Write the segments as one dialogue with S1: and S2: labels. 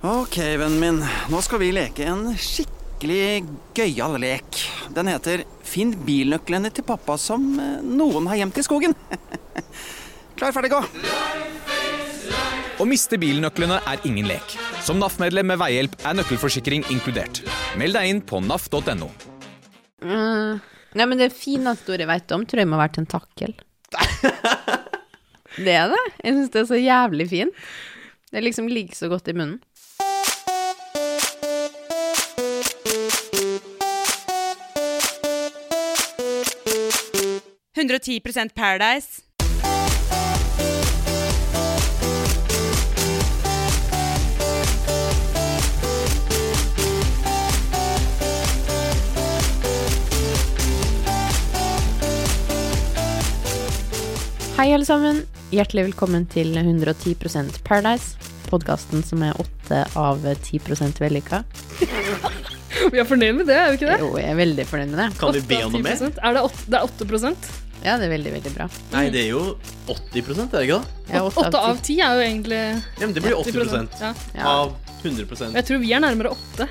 S1: Ok, vennen min. Nå skal vi leke en skikkelig gøyal lek. Den heter Finn bilnøklene til pappa som eh, noen har gjemt i skogen. Klar, ferdig, gå!
S2: Å miste bilnøklene er ingen lek. Som NAF-medlem med veihjelp er nøkkelforsikring inkludert. Meld deg inn på naf.no.
S3: Nei, men det fineste ordet jeg vet om, tror jeg må være tentakel. det er det. Jeg syns det er så jævlig fint. Det liksom ligger så godt i munnen.
S4: Paradise.
S3: Hei, alle sammen. Hjertelig velkommen til 110 Paradise. Podkasten som er åtte av 10 vellykka.
S5: Vi er fornøyd med det, er vi ikke det?
S3: Jo, jeg er veldig fornøyd med det.
S6: Kan du be
S5: Åtte av
S6: om noe mer?
S5: 10%? Er det, åtte, det er 8 prosent.
S3: Ja, det er veldig, veldig bra.
S6: Nei, det er jo 80 er det ikke det?
S3: Jeg er åtte
S5: Åtte
S3: av
S5: av ti er jo egentlig
S6: Ja, men det blir 80
S5: 10%. Ja.
S3: ti. Ja.
S6: av 100
S5: Og jeg tror vi er nærmere åtte.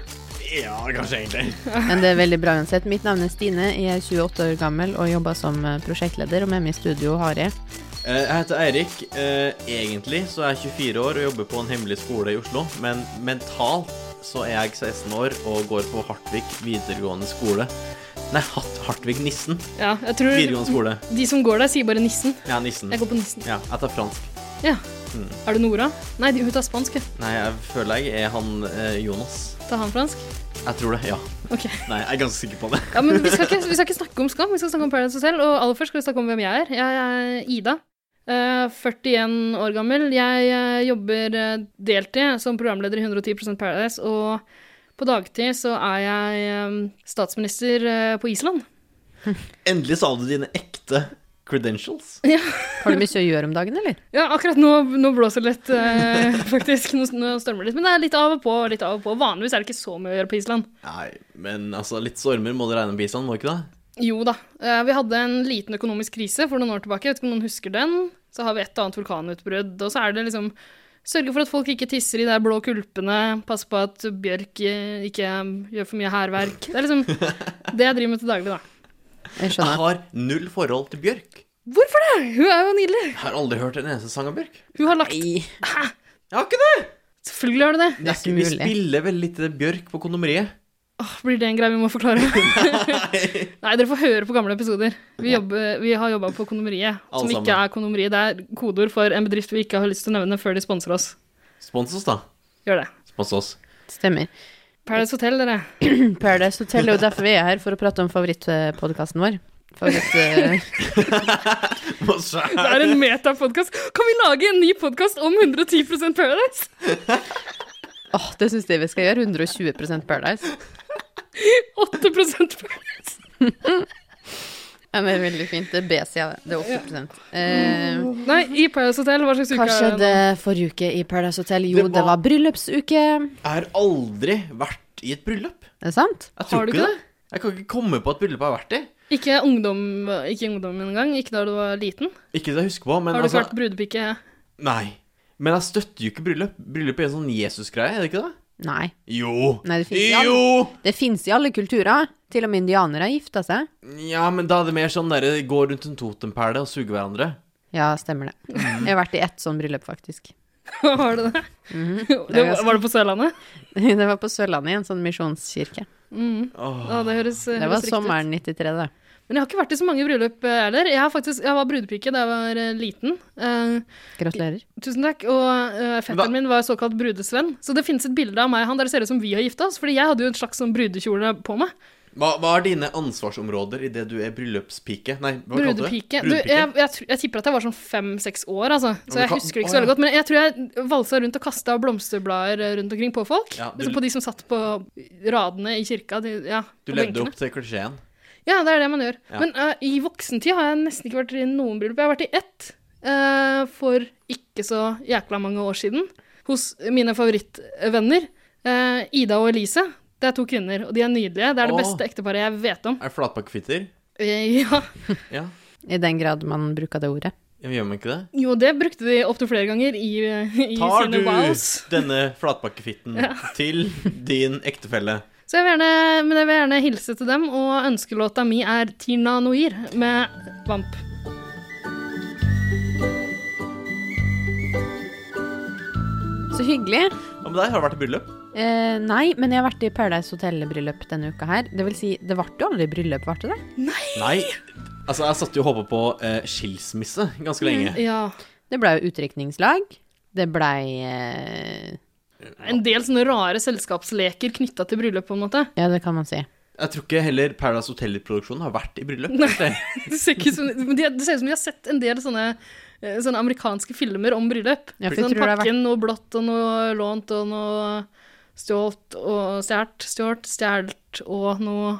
S6: Ja, kanskje egentlig.
S3: Men det er veldig bra uansett. Mitt navn er Stine, jeg er 28 år gammel og jobber som eh, prosjektleder, og med meg i studio har jeg
S6: Eh, Jeg heter Eirik. Eh, Egentlig så er jeg 24 år og jobber på en hemmelig skole i Oslo. Men mentalt så er jeg 16 år og går på Hartvig videregående skole. Nei, Hat- Hartvig Nissen
S5: Ja, jeg tror
S6: videregående skole.
S5: De som går der, sier bare nissen.
S6: Ja, Nissen.
S5: Jeg går på nissen.
S6: Ja, jeg tar fransk.
S5: Ja. Er det Nora? Nei, de- hun tar spansk. ja.
S6: Nei, jeg føler jeg er han eh, Jonas.
S5: Tar han fransk?
S6: Jeg tror det, ja.
S5: Ok.
S6: Nei, jeg er ganske sikker på det.
S5: Ja, men vi skal, ikke, vi skal ikke snakke om skam, vi skal snakke om Paradise Hotel. Og aller først skal vi snakke om hvem jeg er. Jeg er Ida. eh, 41 år gammel. Jeg eh, jobber eh, deltid som programleder i 110 Paradise. Og på dagtid så er jeg eh, statsminister eh, på Island.
S6: Endelig sa du dine ekte credentials.
S3: Har du mye å gjøre om dagen, eller?
S5: Ja, akkurat nå, nå blåser det litt, eh, faktisk. Nå, nå stormer det litt. Men det er litt av og på. litt av og på. Vanligvis er det ikke så mye å gjøre på Island.
S6: Nei, men altså, litt stormer må det regne med bistand, må ikke det?
S5: Jo da. Eh, Vi hadde en liten økonomisk krise for noen år tilbake. Jeg vet ikke om noen husker den. Så har vi et og annet vulkanutbrudd. Og så er det liksom sørge for at folk ikke tisser i de blå kulpene, passe på at bjørk eh, ikke gjør for mye hærverk. Det er liksom det jeg driver med til daglig, da.
S3: Jeg
S6: Jeg
S3: skjønner.
S6: har null forhold til Bjørk.
S5: Hvorfor det? Hun er jo nydelig.
S6: Jeg har aldri hørt en eneste sang av Bjørk.
S5: Hun har lagt
S3: Nei.
S6: Jeg har ikke det!
S5: Selvfølgelig har du det.
S6: det er ikke, vi
S3: mulig.
S6: spiller veldig lite Bjørk på kondomeriet.
S5: Åh, blir det en greie vi må forklare? Nei, dere får høre på gamle episoder. Vi, jobber, vi har jobba på Kondomeriet,
S6: Alle
S5: som ikke
S6: sammen.
S5: er Kondomeriet. Det er kodeord for en bedrift vi ikke har lyst til å nevne før de sponser oss.
S6: Spons oss, da.
S5: Gjør det.
S6: Spons oss.
S3: Stemmer.
S5: Paradise Hotel, dere.
S3: Paradise Hotel er jo derfor vi er her, for å prate om favorittpodkasten vår. Favoritt, eh,
S5: Det er en metapodkast. Kan vi lage en ny podkast om 110 Paradise?
S3: Åh, det syns jeg vi skal gjøre. 120 Paradise.
S5: 8 Paradise.
S3: Ja, men det er veldig fint. Det er B-sida, det. Det er 80 eh,
S5: Nei, i Paradise Hotel, hva slags uke
S3: Hva
S5: er det?
S3: skjedde forrige uke i Paradise Hotel? Jo,
S6: Det
S3: det
S6: var-
S3: var bryllupsuke.
S6: Jeg har aldri vært i et bryllup.
S3: Er det sant?
S6: Jeg
S5: Har
S6: tror
S5: du
S6: ikke
S5: ikke
S6: det. Jeg kan ikke komme på et bryllup jeg har vært i.
S5: nå? Ikke ungdom, ikke ungdom engang. Ikke da du var liten.
S6: Ikke det jeg husker på, men
S5: Har du ikke
S6: altså
S5: vært brudepike?
S6: Nei. Men jeg støtter jo ikke bryllup. Bryllup er en sånn Jesus-greie, er det ikke det?
S3: Nei.
S6: Jo.
S3: Nei, det finnes ikke.
S6: Jo!
S3: Det fins i alle kulturer. Til og med indianere har gifta seg.
S6: Ja, men da er det mer sånn derre gå rundt en totempæle og suge hverandre.
S3: Ja, stemmer det. Jeg har vært i ett sånn bryllup, faktisk.
S5: Har du det?
S3: Mhm.
S5: det var, var det på Sørlandet?
S3: Det var på Sørlandet, i en sånn misjonskirke.
S5: Ja, det høres,
S3: Det
S5: høres
S3: var
S5: riktig ut.
S3: sommeren 93, det.
S5: Men jeg har ikke vært i så mange bryllup eh, heller. Jeg, har faktisk, jeg var brudepike da jeg var eh, liten. Eh,
S3: Gratulerer.
S5: tusen takk. Og eh, fetteren
S6: Hva-
S5: min var såkalt brudesvenn. Så det finnes et bilde av meg og han der det ser ut som vi har gifta oss. Fordi jeg hadde jo en slags sånn brudekjole på meg.
S6: Hva, hva er dine ansvarsområder idet du er bryllupspike? Nei, hva kalte du det?
S5: Brudepike. Du, jeg, jeg, tr- jeg tipper at jeg var sånn fem-seks år, altså.
S6: men
S5: Så jeg
S6: kan-
S5: husker
S6: Å,
S5: ikke så
S6: ja.
S5: veldig godt. Men jeg tror jeg valsa rundt og kasta blomsterblader eh, rundt omkring på folk.
S6: Ja, du-
S5: Så på de som satt på radene i kirka. De, ja,
S6: Du
S5: på
S6: levde
S5: benkene.
S6: opp til klisjeen.
S5: Ja, det er det man gjør.
S6: Ja.
S5: Men eh, i voksentid har jeg nesten ikke vært i noen bryllup. Jeg har vært i ett eh, for ikke så jækla mange år siden. Hos mine favorittvenner, eh, Ida og Elise. Det er to kvinner, og de er nydelige. Det er det
S6: Åh.
S5: beste ekteparet jeg vet om.
S6: Er det flatpakkefitter?
S5: Eh, ja.
S6: Ja.
S3: I den grad man bruker det ordet.
S6: Gjør man ikke det?
S5: Jo, det brukte de opptil flere ganger i, i
S6: Tar
S5: sine
S6: du
S5: wows.
S6: denne flatpakkefitten til din ektefelle?
S5: Så jeg vil, gjerne, men jeg vil gjerne hilse til dem, og ønskelåta mi er Tina Noir med Vamp.
S3: Så hyggelig.
S6: Ja, men der har det vært bryllup.
S3: Eh, nei, men jeg har vært i Paradise Hotel-bryllup denne uka her. Det vil si, det ble jo aldri bryllup, ble det det?
S6: Nei. Altså, jeg satt jo og håpa på eh, skilsmisse ganske
S5: Mm.
S6: lenge.
S5: Ja.
S3: Det blei jo utdrikningslag. Det blei eh,
S5: En del sånne rare selskapsleker knytta til bryllup, på en måte.
S3: Ja, det kan man si.
S6: Jeg tror ikke heller Paradise Hotel-produksjonen har vært i bryllup.
S5: Det ser, ikke ut som, men de, det ser ut som de har sett en del sånne, eh, sånne amerikanske filmer om bryllup.
S3: Ja, for jeg
S5: sånn
S3: tror det har
S5: pakken noe blått og noe lånt og noe stjålt og stjålt, stjålt, stjålet og noe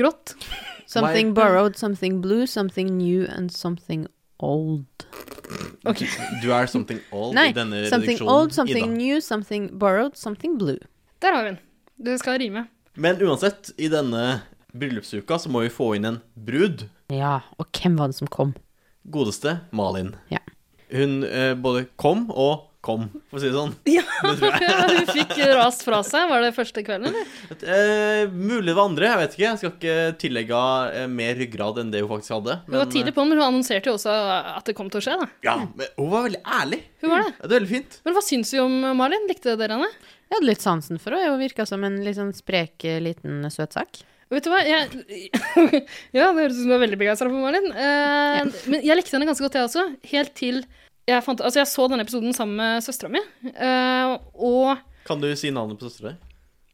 S5: grått.
S3: Something
S6: Why-
S3: borrowed, something blue, something new and something old.
S6: Du er something old
S3: Nei,
S6: i denne
S3: something
S6: reduksjonen,
S3: old, something
S6: Ida.
S3: new, something borrowed, something blue.
S5: Der har vi den. Det skal rime.
S6: Men uansett, i denne bryllupsuka så må vi få inn en brud.
S3: Ja, og hvem var det som kom?
S6: Godeste Malin.
S3: Ja.
S6: Hun eh, både kom og kom, for å si det sånn.
S5: Hun fikk rast fra seg, var det første kvelden, eller?
S6: Eh, mulig det var andre, jeg vet ikke. Jeg skal ikke tillegge henne mer ryggrad enn det hun faktisk hadde.
S5: Hun var tidlig på, men hun annonserte jo også at det kom til å skje, da.
S6: eh, Ja, men hun var veldig ærlig.
S5: Hun var det.
S6: Ja, det er veldig fint.
S5: Men hva syns vi om Malin? Likte dere henne?
S3: Jeg hadde litt sansen for henne. Hun virka som en litt sånn sprek, eh, liten søtsak.
S5: Vet du hva, jeg Ja, det høres ut som du er veldig begeistra for Malin. Eh, Men jeg likte henne ganske godt, jeg også. Helt til jeg fant Altså, jeg så denne episoden sammen med søstera mi, eh, og
S6: Kan du si navnet på søstera di?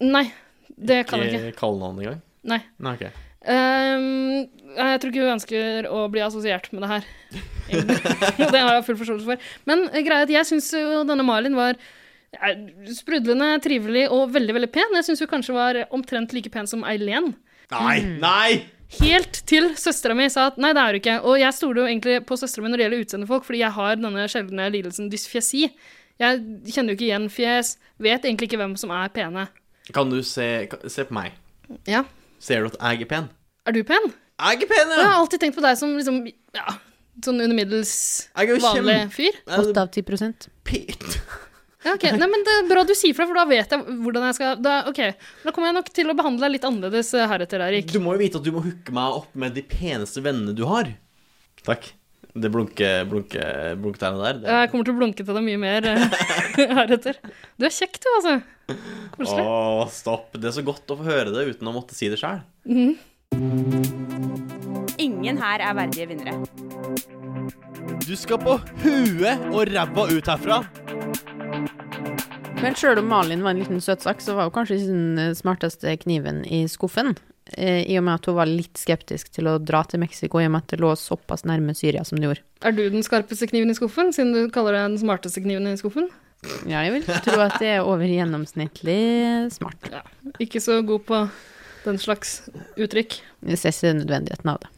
S5: Nei, det kan jeg ikke.
S6: Ikke kallenavn engang?
S5: Nei.
S6: Nei, ok.
S5: Ehm, jeg tror ikke hun ønsker å bli assosiert med det her. egentlig. det har jeg full forståelse for. Men eh, greia er at jeg syns jo denne Malin var eh, sprudlende, trivelig og veldig veldig pen. Jeg syns hun kanskje var omtrent like pen som Eileen.
S6: Nei!
S5: Mm.
S6: Nei!
S5: Helt til søstera mi sa at nei, det er du ikke. Og jeg stoler jo egentlig på søstera mi når det gjelder utseende folk, fordi jeg har denne sjeldne lidelsen dysfjesi. Jeg kjenner jo ikke igjen fjes, vet egentlig ikke hvem som er pene.
S6: Kan du se, kan- se på meg?
S5: Ja.
S6: Ser du at jeg er pen?
S5: Er du pen?
S6: Jeg er pen,
S5: Jeg
S6: ja!
S5: har alltid tenkt på deg som liksom, ja, sånn under middels
S6: Jeg er jo
S5: vanlig
S6: kjem-
S5: fyr.
S6: Jeg
S3: Åtte
S6: er
S3: av ti prosent.
S6: pen.
S5: Ja, ok. Nei, men det er bra du sier fra, for da vet jeg hvordan jeg skal da, Ok, da kommer jeg nok til å behandle deg litt annerledes eh, heretter, Erik.
S6: Du må jo vite at du må hooke meg opp med de peneste vennene du har. Takk. Det blunke, blunke, blunketegnet der.
S5: Jeg kommer til å blunke til deg mye mer eh, heretter. Du er kjekk, du, altså.
S6: Det.
S5: Koselig.
S6: Å, stopp. Det er så godt å få høre det uten å måtte si det sjøl.
S4: Ingen her er verdige vinnere.
S6: Du skal på huet og ræva ut herfra.
S3: Men sjøl om Malin var en liten søtsak, så var hun kanskje ikke den eh, smarteste kniven i skuffen. Eh, I og med at hun var litt skeptisk til å dra til Mexico, i og med at det lå såpass nærme Syria som det gjorde.
S5: Er du den skarpeste kniven i skuffen, siden du kaller deg den smarteste kniven i skuffen?
S3: Ja, jeg vil tro at det er over gjennomsnittlig smart.
S5: Ikke så god på den slags uttrykk.
S3: Vi ser ikke nødvendigheten av det.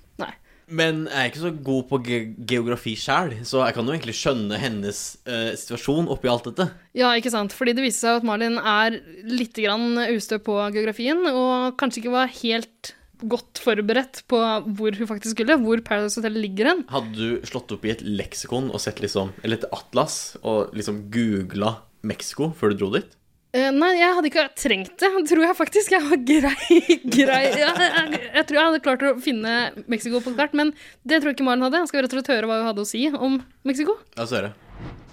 S6: Men jeg er ikke så god på ge geografi sjøl, så jeg kan jo egentlig skjønne hennes eh, situasjon oppi alt dette.
S5: Ja, ikke sant? Fordi det viste seg at Malin er litt grann ustø på geografien, og kanskje ikke var helt godt forberedt på hvor hun faktisk skulle, hvor Paradise Hotel ligger hen.
S6: Hadde du slått opp i et leksikon og sett liksom Eller et atlas og liksom googla Mexico før du dro dit?
S5: Eh, nei, jeg hadde ikke trengt det, tror jeg faktisk. Jeg var grei, grei. Jeg, jeg, jeg tror jeg hadde klart å finne Mexico på et kart, men det tror jeg ikke Malin hadde. Jeg skal rett og slett høre hva hun hadde å si om Mexico.
S6: La oss høre.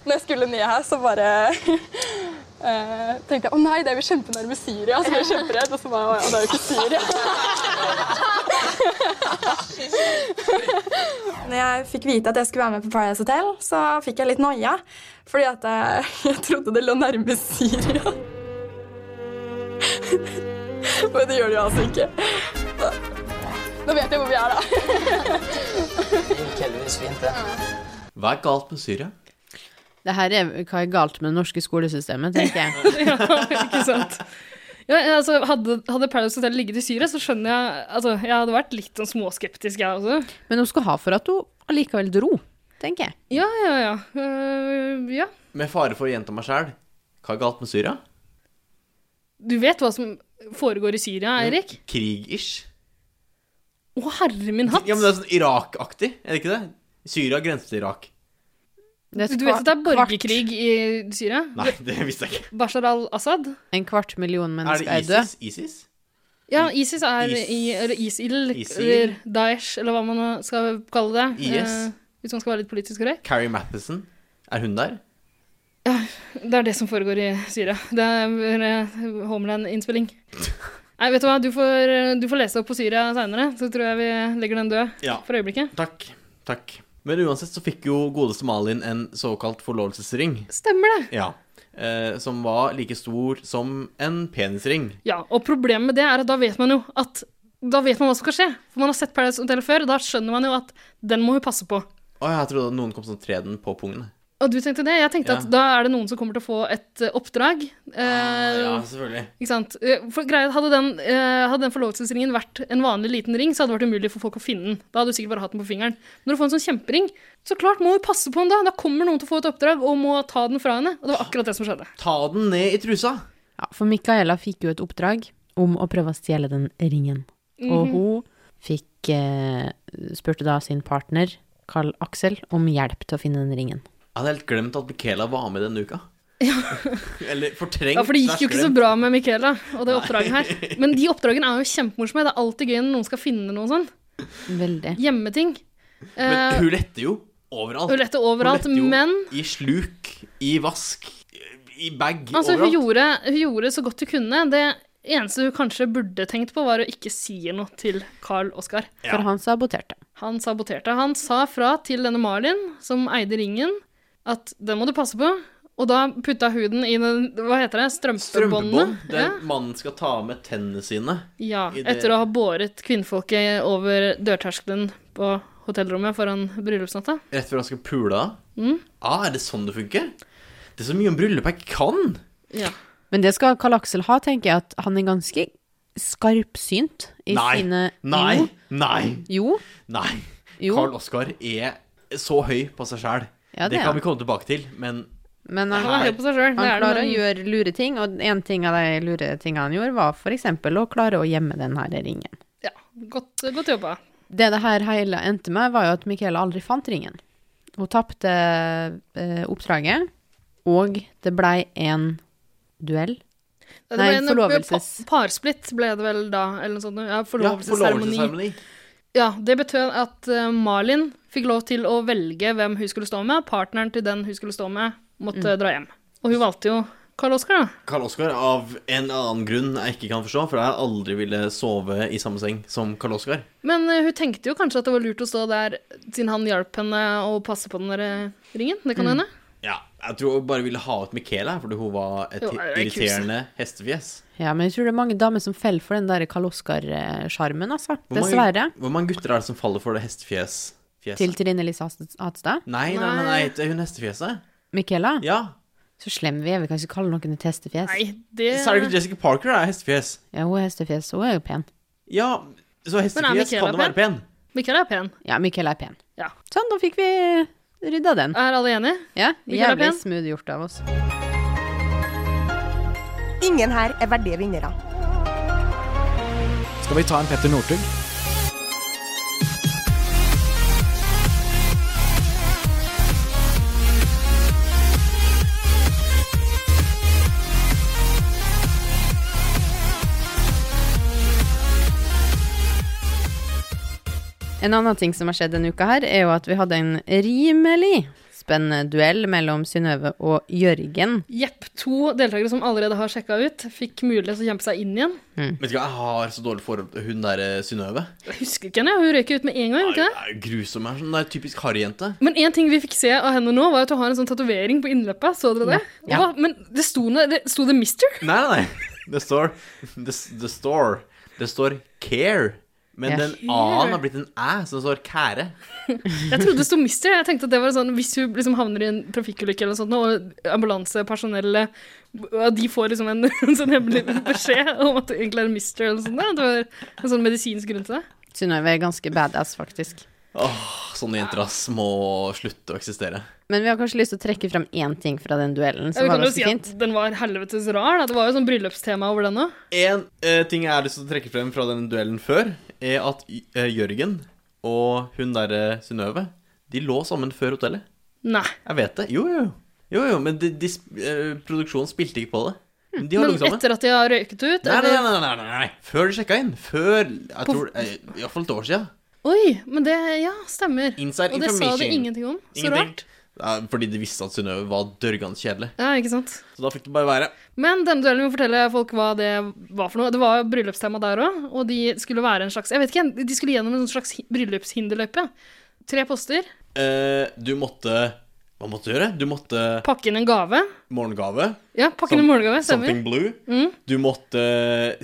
S7: Når jeg skulle ned her, så bare eh, tenkte jeg å nei, det er jo kjempenærme Syria. Så ble jeg kjemperedd, og så bare å ja, det er jo ikke Syria. Når jeg fikk vite at jeg skulle være med på Paradise Hotel, så fikk jeg litt noia. Fordi at jeg, jeg trodde det lå nærme Syria. Men det gjør det jo altså ikke. Så, nå vet jeg hvor vi er, da.
S6: Hva er galt med Syria?
S3: Det her er hva er galt med det norske skolesystemet, tenker jeg.
S5: Ja, ikke sant? Ja, altså, hadde, hadde Paradise Hotel ligget i Syria, så skjønner jeg altså, Jeg hadde vært litt sånn småskeptisk, jeg også.
S3: Men hun skal ha for at hun allikevel dro, tenker jeg.
S5: Ja, ja, ja. Øh, ja.
S6: Med fare for å gjenta meg sjæl, hva er galt med Syria?
S5: Du vet hva som foregår i Syria, Eirik?
S6: Krig-ish?
S5: Å, herre min hatt!
S6: Ja, men det er sånn Irak-aktig, er det ikke det? Syria grenser til Irak.
S3: Det er et
S5: Du vet at det er
S3: kvart-
S5: borgerkrig i Syria?
S6: Nei, det visste jeg ikke.
S5: Bashar al-Assad?
S3: En kvart million
S6: Er
S3: mennesker
S6: det
S3: er døde.
S6: ISIS? ISIS?
S5: Ja, ISIS er
S6: Is-
S5: i Eller ISIL,
S6: ISIL.
S5: eller Daesh, eller hva man nå skal kalle det.
S6: IS.
S5: eh, Hvis man skal være litt politisk korrekt.
S6: Carrie Mathison? Er hun der?
S5: Det er det som foregår i Syria. Det er eh, Homeland-innspilling. Nei, vet du hva, du får, eh, du får lese opp på Syria seinere, så tror jeg vi legger den død
S6: Ja.
S5: for øyeblikket.
S6: Takk. Takk. Men uansett så fikk jo godeste Malin en såkalt forlovelsesring.
S5: Stemmer det!
S6: Ja. Eh, som var like stor som en penisring.
S5: Ja, og problemet med det er at da vet man jo at da vet man hva som skal skje. For man har sett Paradise Hotel før, og da skjønner man jo at den må hun passe på.
S6: Å, jeg trodde at noen kom sånn tre den på pungen.
S5: Og du tenkte det? Jeg tenkte
S6: Ja. Ah,
S5: at da er det noen som kommer til å få et eh, oppdrag. Eh,
S6: ja, selvfølgelig.
S5: Ikke sant? Eh, For greia, hadde, den, eh, hadde den forlovelsesringen vært en vanlig liten ring, så hadde det vært umulig for folk å finne den. Da hadde du sikkert bare hatt den på fingeren. Når du får en sånn kjempering, så klart må du passe på den da. Da kommer noen til å få et oppdrag og må ta den fra henne. Og det var akkurat det som skjedde.
S6: Ta den ned i trusa!
S3: Ja, for Micaela fikk jo et oppdrag om å prøve å stjele den ringen.
S5: Mhm.
S3: Og hun fikk, eh, spurte da sin partner, Carl Aksel, om hjelp til å finne den ringen.
S6: Jeg hadde helt glemt at Michaela var med denne uka. Eller fortrengt.
S5: Ja, for det gikk jo
S6: slash
S5: ikke så
S6: glemt.
S5: bra med Michaela og det oppdraget her. Men de oppdragene er jo kjempemorsomme. Det er alltid gøy når noen skal finne noe sånn.
S3: Veldig.
S5: Hjemmeting.
S6: Men
S5: Eh,
S6: hun lette jo overalt.
S5: hun lette overalt,
S6: Hun lette jo
S5: men
S6: I sluk, i vask, i bag,
S5: Altså, hun
S6: overalt.
S5: gjorde, hun gjorde så godt hun kunne. Det eneste hun kanskje burde tenkt på, var å ikke si noe til Carl Oskar.
S3: For han saboterte.
S5: Han saboterte. Han sa fra til denne Marlin, som eide ringen, at den må du passe på. Og da putta hun den i den, hva heter det,
S6: Strømpebånd.
S5: strømpebåndet.
S6: Det mannen skal ta med tennene sine.
S5: Ja,
S6: i det-
S5: etter å ha båret kvinnfolket over dørterskelen på hotellrommet foran bryllupsnatta.
S6: Rett før han skal pule av.
S3: Mm.
S6: Ah, er det sånn det funker? Det er så mye om bryllup jeg kan!
S5: Ja.
S3: Men det skal Carl Aksel ha, tenker jeg, at han er ganske skarpsynt i
S6: Nei.
S3: sine
S6: Nei! Nei!
S3: Jo.
S6: Nei!
S3: Jo.
S6: Carl Oskar er så høy på seg sjæl.
S3: Ja, det
S6: det
S3: er
S6: kan
S3: han.
S6: vi komme tilbake til, men
S3: Men
S5: Han er
S3: han,
S5: høy på seg sjøl. Det
S3: han
S5: er det.
S3: klarer å
S5: men-
S3: gjøre lure ting, og en ting av de lure tingene han gjorde, var f.eks. å klare å gjemme den her ringen.
S5: Ja, godt, godt jobba.
S3: Det det her hele endte med, var jo at Michaela aldri fant ringen. Hun tapte eh, oppdraget, og det blei en duell.
S5: Det
S3: Nei,
S5: ble en-
S3: forlovelses-
S5: pa- Parsplitt ble det vel da, eller noe sånt. Ja,
S6: ja,
S5: forlovelsesseremoni. Ja,
S6: Forlovelsesseremoni.
S5: det betød at eh, Malin fikk lov til å velge hvem hun skulle stå med. Partneren til den hun skulle stå med, måtte dra hjem. Og hun valgte jo Karl Oskar, da.
S6: Karl Oskar av en annen grunn jeg ikke kan forstå, for jeg aldri ville sove i samme seng som Karl Oskar.
S5: Men eh, hun tenkte jo kanskje at det var lurt å stå der siden han hjalp henne å passe på den der eh, ringen. Det kan hende.
S6: Ja, jeg tror hun bare ville ha ut Michaela, fordi hun var et
S5: Jo, jeg er ikke
S6: irriterende hestefjes.
S3: Ja, men jeg tror det er mange damer som faller for den der Karl Oskar-sjarmen, altså.
S6: Hvor mange-
S3: Dessverre.
S6: Hvor mange gutter er det som faller for det hestefjes? fjeset?
S3: Til Trine Lise Hast- Hatstad.
S6: Nei, nei, nei, nei, det er hun hestefjeset.
S3: Michaela,
S6: Ja.
S3: så slem vi er, vi kan ikke kalle noen et hestefjes.
S5: Nei, det
S6: Sarah Jessica Parker er hestefjes.
S3: Ja, hun er hestefjes, hun er jo pen.
S6: Ja, så hestefjes
S5: Michaela
S6: kan jo være pen.
S5: Michaela er pen.
S3: Ja, Michaela er pen.
S5: Ja.
S3: Sånn, da fikk vi rydda den.
S5: Er alle enige?
S3: Ja,
S5: Michaela er
S3: jævlig
S5: pen.
S3: smooth gjort av oss.
S8: Ingen her er verdige vinnere.
S2: Skal vi ta en Petter Northug?
S3: En annen ting som har skjedd denne uka her, er jo at vi hadde en rimelig spennende duell mellom Synnøve og Jørgen.
S5: Jepp. To deltakere som allerede har sjekka ut, fikk mulighet til å kjempe seg inn igjen.
S6: Vet du hva, jeg har så dårlig forhold til hun der eh, Synnøve.
S5: Jeg husker ikke henne. ja. Hun røyker ut med en gang, gjorde hun ikke det?
S6: Nei, det er Grusom er sånn der typisk harryjente.
S5: Men en ting vi fikk se av henne nå, var at hun har en sånn tatovering på innløpet. Så dere det?
S3: Ja.
S5: Hva? Men det sto, noe- det sto det 'Mister'?
S6: Nei, nei, nei. Det står Det, det står Det står care. Men
S3: Ja.
S6: den a-en har blitt en æ, så det står kære.
S5: Jeg trodde det sto 'Mister'. Jeg tenkte at det var sånn Hvis hun liksom havner i en trafikkulykke eller noe sånt, nå, og ambulansepersonellet og de får liksom en, en sånn hemmelig beskjed om at det egentlig er 'Mister' eller noe sånt. da. Det var en sånn medisinsk grunn til det.
S3: Synnøve er ganske badass, faktisk.
S6: Sånne jenter ass må slutte å eksistere.
S3: Men vi har kanskje lyst til å trekke fram én ting fra den duellen
S5: Ja,
S3: som
S5: vi
S3: var
S5: kan jo
S3: ganske
S5: si
S3: fint.
S5: at den var helvetes rar. Da. Det var jo sånn bryllupstema over den òg.
S6: En eh, ting jeg har lyst til å trekke frem fra den duellen før, er eh, at Y- eh, Jørgen og hun derre Synnøve, de lå sammen før hotellet.
S5: Nei.
S6: Jeg vet det. Jo, jo. jo, jo men de, de, sp- eh, produksjonen spilte ikke på det. De har
S5: Men
S6: ligget sammen.
S5: etter at de har røyket ut?
S6: Nei, nei,
S5: eller-
S6: nei, nei, nei, nei. Før de sjekka inn. Før jeg tror, eh, i hvert fall et år siden.
S5: Oi, men det Ja, stemmer.
S6: Inside
S5: Og det sa de
S6: information.
S5: ingenting om. Så
S6: Ingenting.
S5: rart.
S6: Ja, fordi de visste at Synnøve var dørgende kjedelig.
S5: Ja, ikke sant.
S6: Så da fikk det bare være.
S5: Men denne duellen må fortelle folk hva det var for noe. Det var jo bryllupstema der òg, og de skulle være en slags Jeg vet ikke, de skulle gjennom en sånn slags hi- bryllupshinderløype. Tre poster,
S6: Eh, du måtte Hva måtte du gjøre? Du måtte
S5: pakke inn en gave.
S6: morgengave.
S5: Ja, pakke inn en
S6: som-
S5: morgengave, stemmer.
S6: Something blue.
S5: Mm.
S6: Du måtte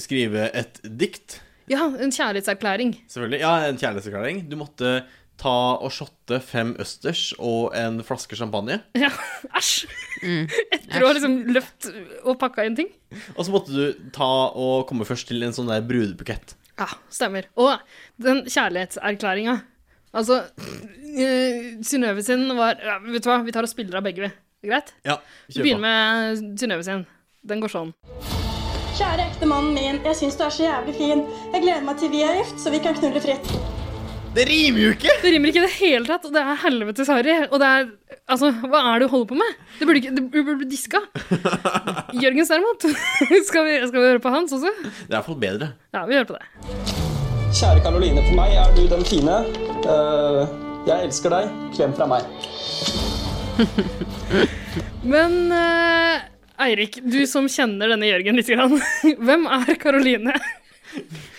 S6: skrive et dikt.
S5: Ja, en kjærlighetserklæring.
S6: Selvfølgelig. Ja, en kjærlighetserklæring. Du måtte ta og shotte fem østers og en flaske champagne.
S5: Ja, æsj! Etter å ha liksom løpt og pakka inn ting.
S6: Og så måtte du ta og komme først til en sånn der brudebukett.
S5: Ja, stemmer. Og den kjærlighetserklæringa. Altså, øh, Synnøve sin var ja, Vet du hva, vi tar og spiller av begge, vi. Greit?
S6: Ja,
S5: Vi begynner med Synnøve sin. Den går sånn.
S9: Kjære ektemannen min, jeg syns du er så jævlig fin. Jeg gleder meg til vi er gift, så vi kan knulle fritt.
S6: Det rimer jo ikke!
S5: Det rimer ikke i det hele tatt, og det er helvetes harry. Og det er Altså, hva er det du holder på med? Det burde, ikke, det burde bli diska. Jørgens, derimot. skal, vi, skal vi høre på hans også?
S6: Det er i hvert fall bedre.
S5: Ja, vi hører på det.
S10: Kjære Karoline, for meg er du den fine. Eh, jeg elsker deg. Klem fra meg.
S5: Men eh, Eirik, du som kjenner denne Jørgen lite grann. Hvem er Karoline?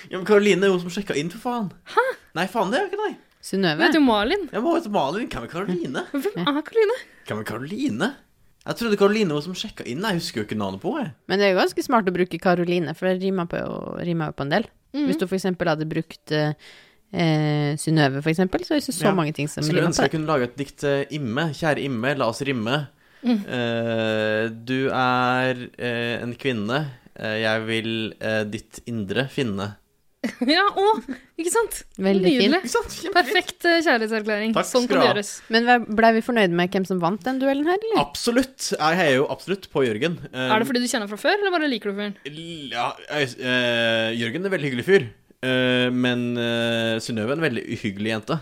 S6: Ja, men Karoline er jo hun som sjekka inn, for faen. Hæ? Nei, faen, det er jo ikke deg.
S3: Synnøve?
S5: Vet du Malin?
S6: Jeg må hete Malin. Hvem er Karoline?
S5: Hvem er Karoline?
S6: Hvem er Karoline? Jeg trodde Karoline var hun som sjekka inn. Jeg husker jo ikke navnet på henne.
S3: Men det er jo ganske smart å bruke Karoline, for det rimer, på, rimer jo på en del.
S5: Mhm.
S3: Hvis du for eksempel hadde brukt eh, eh, Synnøve, for eksempel, så er det ikke så
S6: Ja.
S3: mange ting som
S6: Skulle
S3: rimer
S6: ønske
S3: på
S6: jeg
S3: det.
S6: kunne lage et dikt til Imme. Kjære Imme, la oss rimme.
S5: Mm.
S6: Eh, du er eh, en kvinne. Eh, jeg vil eh, ditt indre finne.
S5: Ja, å! Ikke sant?
S3: Veldig
S5: Nydelig.
S6: Ikke sant? Kjempe-
S5: Perfekt eh, kjærlighetserklæring.
S6: Takk
S5: sånn
S6: skal
S5: kan det
S6: du ha.
S5: gjøres.
S3: Men hva- blei vi fornøyd med hvem som vant den duellen her, eller?
S6: Absolutt. Jeg heier jo absolutt på Jørgen. Eh,
S5: Er det fordi du kjenner ham fra før, eller bare liker du fyren?
S6: l- ja, jeg, eh, Jørgen er en veldig hyggelig fyr. Eh, men eh, Synnøve er en veldig uhyggelig jente.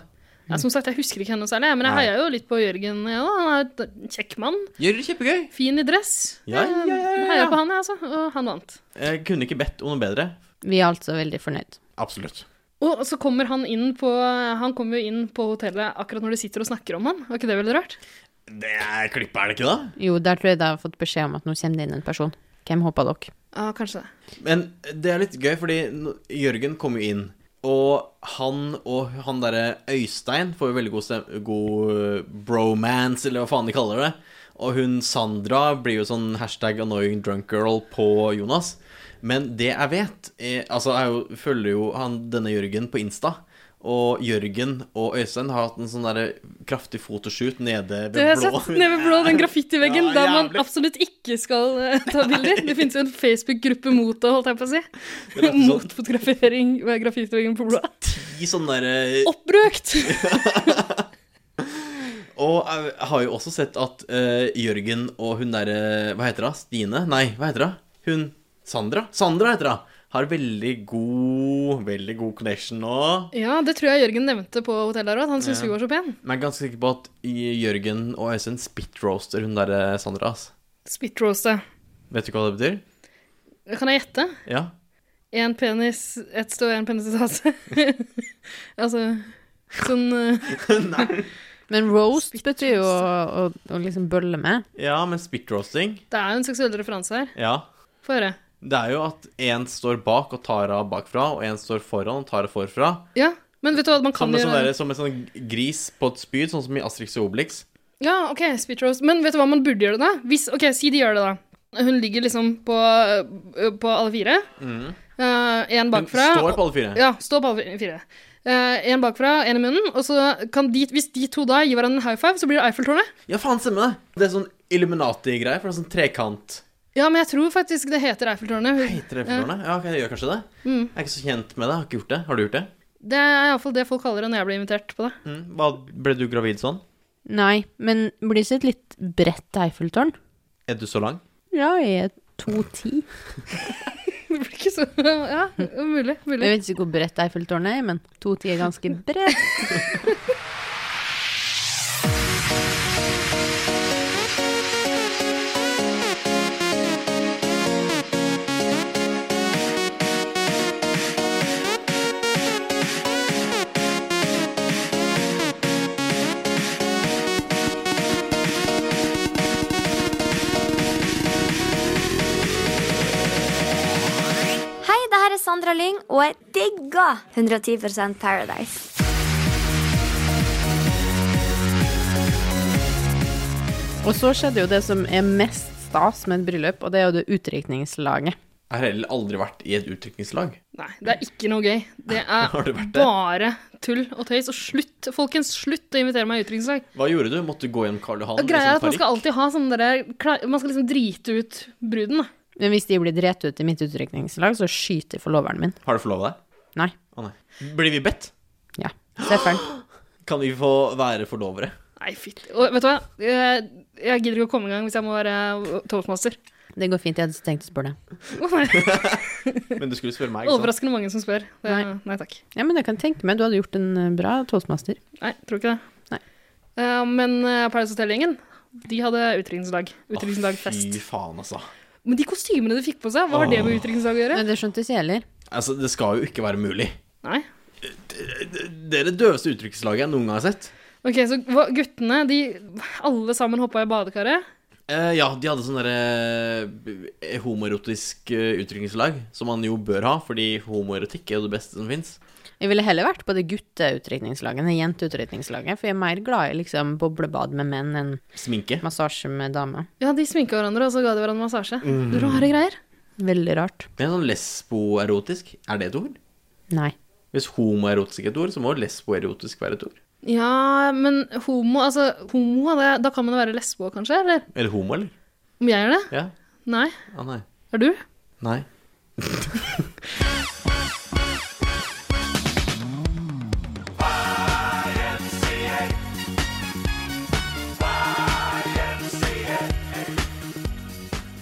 S5: Ja, som sagt, jeg husker ikke henne særlig, men jeg
S6: Nei.
S5: heia jo litt på Jørgen. Ja, da. han er en kjekk mann.
S6: Gjør det kjempegøy.
S5: Fin i dress.
S6: Ja, ja, ja, ja, ja.
S5: Heia på han, jeg, altså. Og han vant.
S6: Jeg kunne ikke bedt om noe bedre.
S3: Vi er altså veldig fornøyd.
S6: Absolutt.
S5: Og så kommer han inn på Han kommer jo inn på hotellet akkurat når de sitter og snakker om han. Var ikke det veldig rart?
S6: Det er klippet, er det ikke da?
S3: Jo, der tror jeg de har fått beskjed om at nå kommer det inn en person. Hvem håper dere?
S5: Ja, kanskje det.
S6: Men det er litt gøy, fordi n- Jørgen kom jo inn. Og han og han derre Øystein får jo veldig god, stem god eh, bromance, eller hva faen de kaller det. Og hun Sandra blir jo sånn hashtag annoying drunk girl på Jonas. Men det jeg vet er, Altså, jeg jo, følger jo han, denne Jørgen på Insta. Og Jørgen og Øystein har hatt en sånn derre kraftig fotoshoot nede ved
S5: Det har jeg
S6: blå.
S5: sett. Nede ved blå, den graffitiveggen
S6: Ja,
S5: der man
S6: jævlig.
S5: absolutt ikke skal eh, ta bilder. Det finnes jo en Facebook-gruppe mot det, holdt jeg på å si.
S6: Det er sånn-
S5: Mot fotografering ved graffitiveggen på blå.
S6: I sånn derre
S5: Oppbrukt!
S6: Og jeg har jo også sett at eh, Jørgen og hun derre Hva heter hun? Stine? Nei, hva heter hun? Hun Sandra? Sandra heter hun. Har veldig god Veldig god connection nå.
S5: Ja, det tror jeg Jørgen nevnte på hotellet der òg, at han syntes hun var så pen.
S6: Men jeg er ganske sikker på at Jørgen og Øystein spit-roaster hun derre Sandra. ass.
S5: Spitroaste.
S6: Vet du hva det betyr?
S5: eh. Kan jeg gjette?
S6: Ja.
S5: Én penis ett sted og én penis et annet sted. altså sånn eh,
S3: Men roast betyr jo å, å, å liksom bølle med.
S6: Ja, men spit-roasting
S5: Det er jo en seksuell referanse her.
S6: Ja.
S5: Få høre.
S6: Det er jo at én står bak og tar av bakfra, og én står foran og tar av forfra.
S5: Ja, men vet du hva man kan
S6: Som en, sånn
S5: gjøre?
S6: derre- som en sånn gris på et spyd, sånn som i Asterix og Obelix.
S5: Ja, ok, spit roast. Men vet du hva man burde gjøre da? Hvis, ok, si de gjør det da. Hun ligger liksom på, øh, på alle fire. Én
S6: Hun
S5: bakfra.
S6: Mm. står på alle fire.
S5: Ja, stå på alle fire. Én bakfra, én i munnen. Og så kan de, hvis de to da gir hverandre en high five, så blir det Eiffeltårnet.
S6: Ja, faen, stemmer det. Det er sånn Illuminati-greier, for det er sånn trekant.
S5: Ja, men jeg tror faktisk det heter Eiffeltårnet.
S6: Heter det Eiffeltårnet? Ja, ok, det gjør kanskje det.
S5: Mm.
S6: Jeg er ikke så kjent med det, jeg har ikke gjort det. Har du gjort det?
S5: Det er iallfall det folk kaller det når jeg blir invitert på det.
S6: Mm. Hva, ble du gravid sånn?
S3: Nei, men blir det ikke et litt bredt Eiffeltårn?
S6: Er du så lang?
S3: Ja, jeg er 2,10.
S5: Det blir ikke så Ja, mulig. mulig.
S3: Jeg vet ikke hvor bredt Eiffeltårnet er, men 2,10 er ganske bredt.
S7: heter Sandra Lyng, og jeg digger 110 Paradise.
S3: Og så skjedde jo det som er mest stas med et bryllup, og det er jo det utdrikningslaget.
S6: Jeg har heller aldri vært i et utdrikningslag.
S5: Nei, det er ikke noe gøy. Det
S6: Har
S5: er
S6: du vært det?
S5: bare tull og tøys. Og slutt, folkens, slutt å invitere meg i utdrikningslag.
S6: Hva gjorde du? Måtte du gå gjennom Karl Johan? liksom
S5: Og Greia er at man skal alltid ha sånne der kla- Man skal liksom drite ut bruden, da.
S3: Men hvis de blir drept ut i mitt utdrikningslag, så skyter forloveren min.
S6: Har du forlova deg?
S3: Nei.
S6: Å nei. Blir vi bedt?
S3: Ja. Stefan.
S6: Kan vi få være forlovere?
S5: Nei, fytti Og vet du hva? Jeg, jeg gidder ikke å komme i gang hvis jeg må være toastmaster.
S3: Det går fint, jeg hadde tenkt å spørre deg.
S6: Men du skulle spørre meg, ikke sant?
S5: Overraskende mange som spør. Det, nei. takk.
S3: Ja, men jeg kan tenke meg, du hadde gjort en eh, bra toastmaster.
S5: Nei, tror ikke det. Eh, men uh, Paradise Hotel-gjengen, de hadde utdrikningslag. Utdrikningslagfest.
S6: Fy faen, altså.
S5: Men de kostymene de fikk på seg, hva har det med
S6: Åh.
S5: utdrikningslag å gjøre?
S3: det skjønte ikke jeg heller.
S6: Altså, det skal jo ikke være mulig. Eh,
S5: Nei.
S6: Det er det døveste utdrikningslaget jeg noen gang har sett.
S5: Ok, så hva- guttene, de alle sammen hoppa i badekaret.
S6: Eh, ja, de hadde sånn derre eh, homoerotisk eh, utdrikningslag, som man jo bør ha, fordi homoerotikk er jo det beste som fins.
S3: Jeg ville heller vært på det gutteutdrikningslaget enn det jenteutdrikningslaget, for jeg er mer glad i liksom boblebad med menn enn
S6: Sminke.
S3: massasje med damer.
S5: Ja, de sminka hverandre, og så ga de hverandre massasje.
S6: Mm.
S5: Rare greier.
S3: Veldig rart.
S6: Det er sånn lesboerotisk. Er det et ord?
S3: Nei.
S6: Hvis homoerotisk er et ord, så må lesboerotisk være et ord.
S5: Ja, men homo, altså homo, det, da kan man jo være lesbo, kanskje? Eller
S6: Eller homo, eller?
S5: om jeg er det?
S6: Ja.
S5: Nei.
S6: Ah, nei.
S5: Er du?
S6: Nei.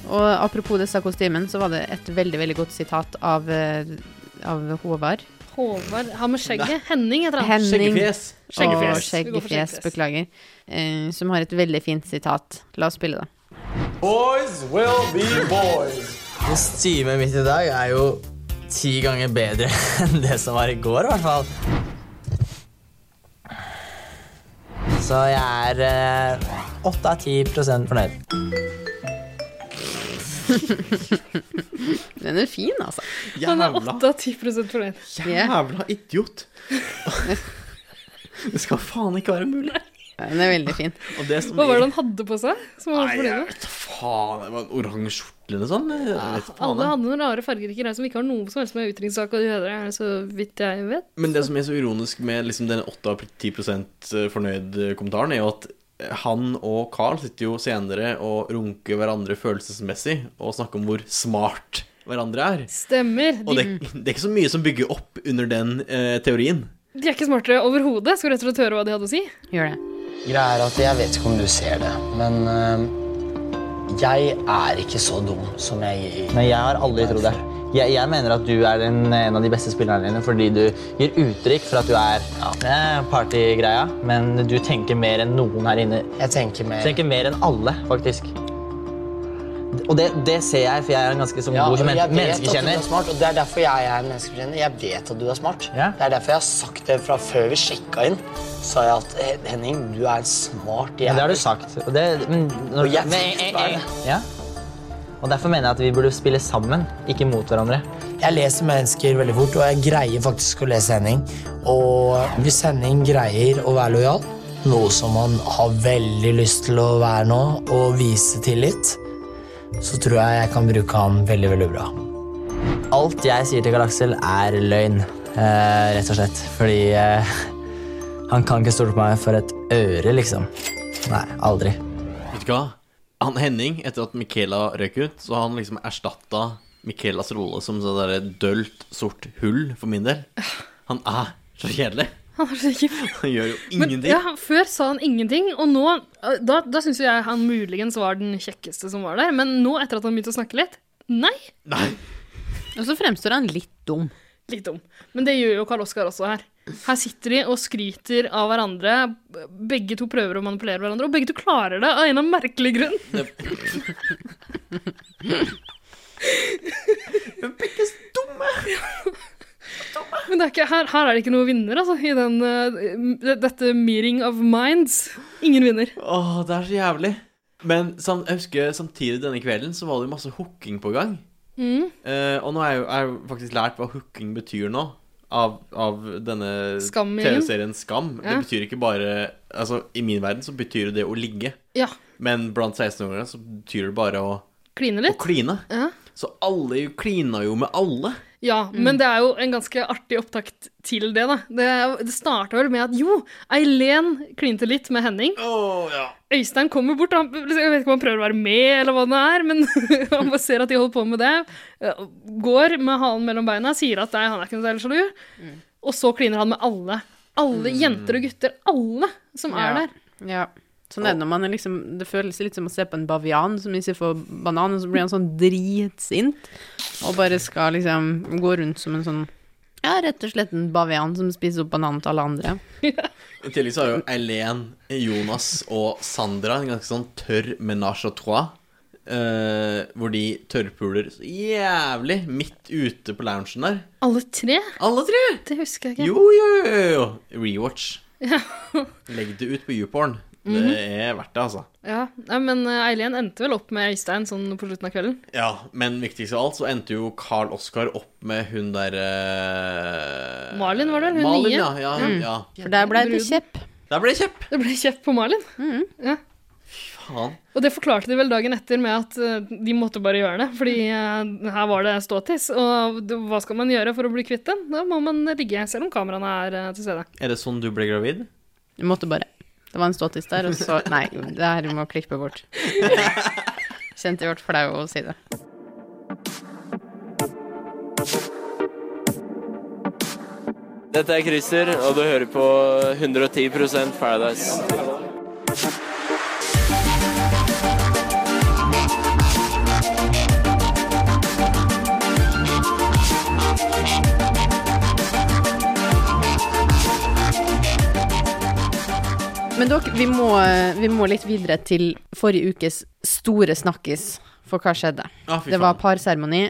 S3: Og apropos disse kostymen, så var det et veldig, veldig godt sitat av, eh, av Håvard.
S5: Håvard Han med skjegget. Henning heter han.
S3: Henning og
S5: Vi går for
S3: Skjeggefjes, beklager. eh, som har et veldig fint sitat. La oss spille det.
S11: Boys will be boys. Kostymet mitt i dag er jo ti ganger bedre enn det som var i går, i hvert fall. Så jeg er eh, åtte av ti prosent fornøyd.
S3: Den er fin, altså.
S5: Han er 8 av 10 fornøyd.
S6: Jævla idiot. Det skal faen ikke være mulig.
S3: Den er veldig fin.
S6: Og det som
S5: Hva var det han hadde på seg? Som han var
S6: Nei,
S5: fornøyd
S6: jeg
S5: med?
S6: vet da faen, det var en oransje skjorte eller noe sånt. Jeg vet ikke faen,
S5: Alle
S6: jeg.
S5: hadde noen rare fargerike greier som ikke har noe som helst med utenrikssak å gjøre, så vidt jeg vet.
S6: Men det som er så ironisk med liksom denne 8 av eh, 10 fornøyd-kommentaren, er jo at eh, han og Carl sitter jo senere og runker hverandre følelsesmessig og snakker om hvor smart hverandre er.
S5: Stemmer.
S6: Og det,
S5: De,
S6: det er ikke så mye som bygger opp under den eh, teorien.
S5: de er ikke smartere overhodet. Skal rett og slett høre hva de hadde å si.
S3: Gjør det.
S11: Greia er at jeg vet ikke om du ser det, men eh, jeg er ikke så dum som jeg Nei, jeg har aldri trodd det. Jeg, jeg mener at du er en, en av de beste spillerne dine fordi du gir uttrykk for at du er ja, eh, partygreia, men du tenker mer enn noen her inne. Jeg tenker mer. Tenker mer enn alle, faktisk. Og det, det ser jeg, for jeg er en ganske sånn
S12: Ja,
S11: god
S12: og
S11: som men-
S12: jeg vet at du
S11: menneskekjenner.
S12: er smart, og det er derfor jeg er menneskekjenner. Jeg vet at du er smart. Det er derfor jeg har sagt det fra før vi sjekka inn. Sa jeg at «Eh, Henning, du er en smart
S11: Ja,
S12: jævel.
S11: det har du sagt. Og, det, men, når,
S12: Og jeg
S11: men-
S12: vet
S11: eh,
S12: hva
S11: eh,
S12: det
S11: Ja. Og derfor mener jeg at vi burde spille sammen, ikke mot hverandre.
S12: Jeg leser mennesker veldig fort, og jeg greier faktisk å lese Henning. Og hvis Henning greier å være lojal, noe som han har veldig lyst til å være nå, og vise tillit, så tror jeg jeg kan bruke han veldig, veldig bra.
S11: Alt jeg sier til Karl Aksel er løgn, eh, rett og slett. Fordi eh, han kan ikke stole på meg for et øre, liksom. Nei, aldri.
S6: Vet du hva? Han Henning, etter at Michaela røk ut, så har han liksom erstatta Michaelas rolle som sånn derre dølt, sort hull, for min del. Han er så kjedelig.
S5: Han er så kjip.
S6: Han gjør jo
S5: Men
S6: ingenting.
S5: ja, før sa han ingenting, og nå eh, Da, da syns jo jeg han muligens var den kjekkeste som var der, men nå, etter at han begynte å snakke litt Nei.
S3: Og så fremstår han litt dum.
S5: Litt dum. Men det gjør jo Karl Oskar også her. Her sitter de og skryter av hverandre. Begge to prøver å manipulere hverandre, og begge to klarer det av en eller annen merkelig grunn. Men det er ikke, her, her er det ikke noe vinner, altså, i den, eh, det- dette meeting of minds. Ingen vinner.
S6: Åh, det er så jævlig. Men sam jeg husker samtidig denne kvelden så var det jo masse hooking på gang.
S5: Mm.
S6: Eh, og nå har jeg jo jeg har jo faktisk lært hva hooking betyr nå, av, av denne
S5: Skam-gjengen.
S6: TV-serien Skam.
S5: Ja.
S6: Det betyr ikke bare Altså, i min verden så betyr det det å ligge,
S5: Ja.
S6: men blant 16-åringer så betyr det bare å
S5: Kline litt.
S6: Å kline.
S5: Ja.
S6: Så alle jo klina jo med alle.
S5: Ja, men det er jo en ganske artig opptakt til det, da. Det, er jo- det starta vel med at jo, Eileen klinte litt med Henning. Øystein kommer bort, og han, liksom, jeg vet ikke om han prøver å være med, eller hva det er, men han bare ser at de holder på med det. Eh, Går med halen mellom beina, sier at nei, han er ikke noe særlig sjalu. Og så kliner han med alle. Alle jenter og gutter. Alle som er
S3: Ja.
S5: der.
S3: Ja. Sånn er det når man er liksom Det føles litt som å se på en bavian som ikke får banan, og så blir han sånn dritsint og bare skal liksom gå rundt som en sånn Ja, rett og slett en bavian som spiser opp bananen til alle andre.
S6: I tillegg så har jo Eileen, Jonas og Sandra en ganske sånn tørr menage à trois. eh, hvor de tørrpuler så jævlig midt ute på loungen der.
S5: Alle tre?
S6: Alle tre?
S5: Det husker jeg ikke.
S6: Jo, jo, jo, jo. Rewatch.
S5: Ja.
S6: Legg det ut på YouPorn.
S5: Mhm.
S6: Det er verdt det, altså.
S5: Ja, nei, men eh, Eileen endte vel opp med Øystein sånn på slutten av kvelden.
S6: Ja, Men viktigst av alt så endte jo Carl Oskar opp med hun derre
S5: Malin var det vel? Hun
S6: Malin,
S5: nye?
S6: ja, ja,
S5: Mm.
S6: ja.
S3: For der ble det
S5: Bruden.
S3: kjepp.
S6: Der ble det kjepp.
S5: Det ble kjepp på Malin. Ja.
S6: Faen.
S5: Og det forklarte de vel dagen etter med at eh, de måtte bare gjøre det, fordi eh, her var det ståtiss. Og det- hva skal man gjøre for å bli kvitt den? Da må man ligge, selv om kameraene er eh, til stede.
S6: Er det sånn du ble gravid?
S3: Du måtte bare. Det var en ståtiss der, og så Nei, det her må klippe bort. Kjente jeg ble flau av å si det.
S13: Dette er Christer, og du hører på 110 Paradise.
S3: Men dere, vi må, vi må litt videre til forrige ukes store snakkis for hva skjedde.
S14: Ja, fy
S3: det var
S14: faen.
S3: parseremoni,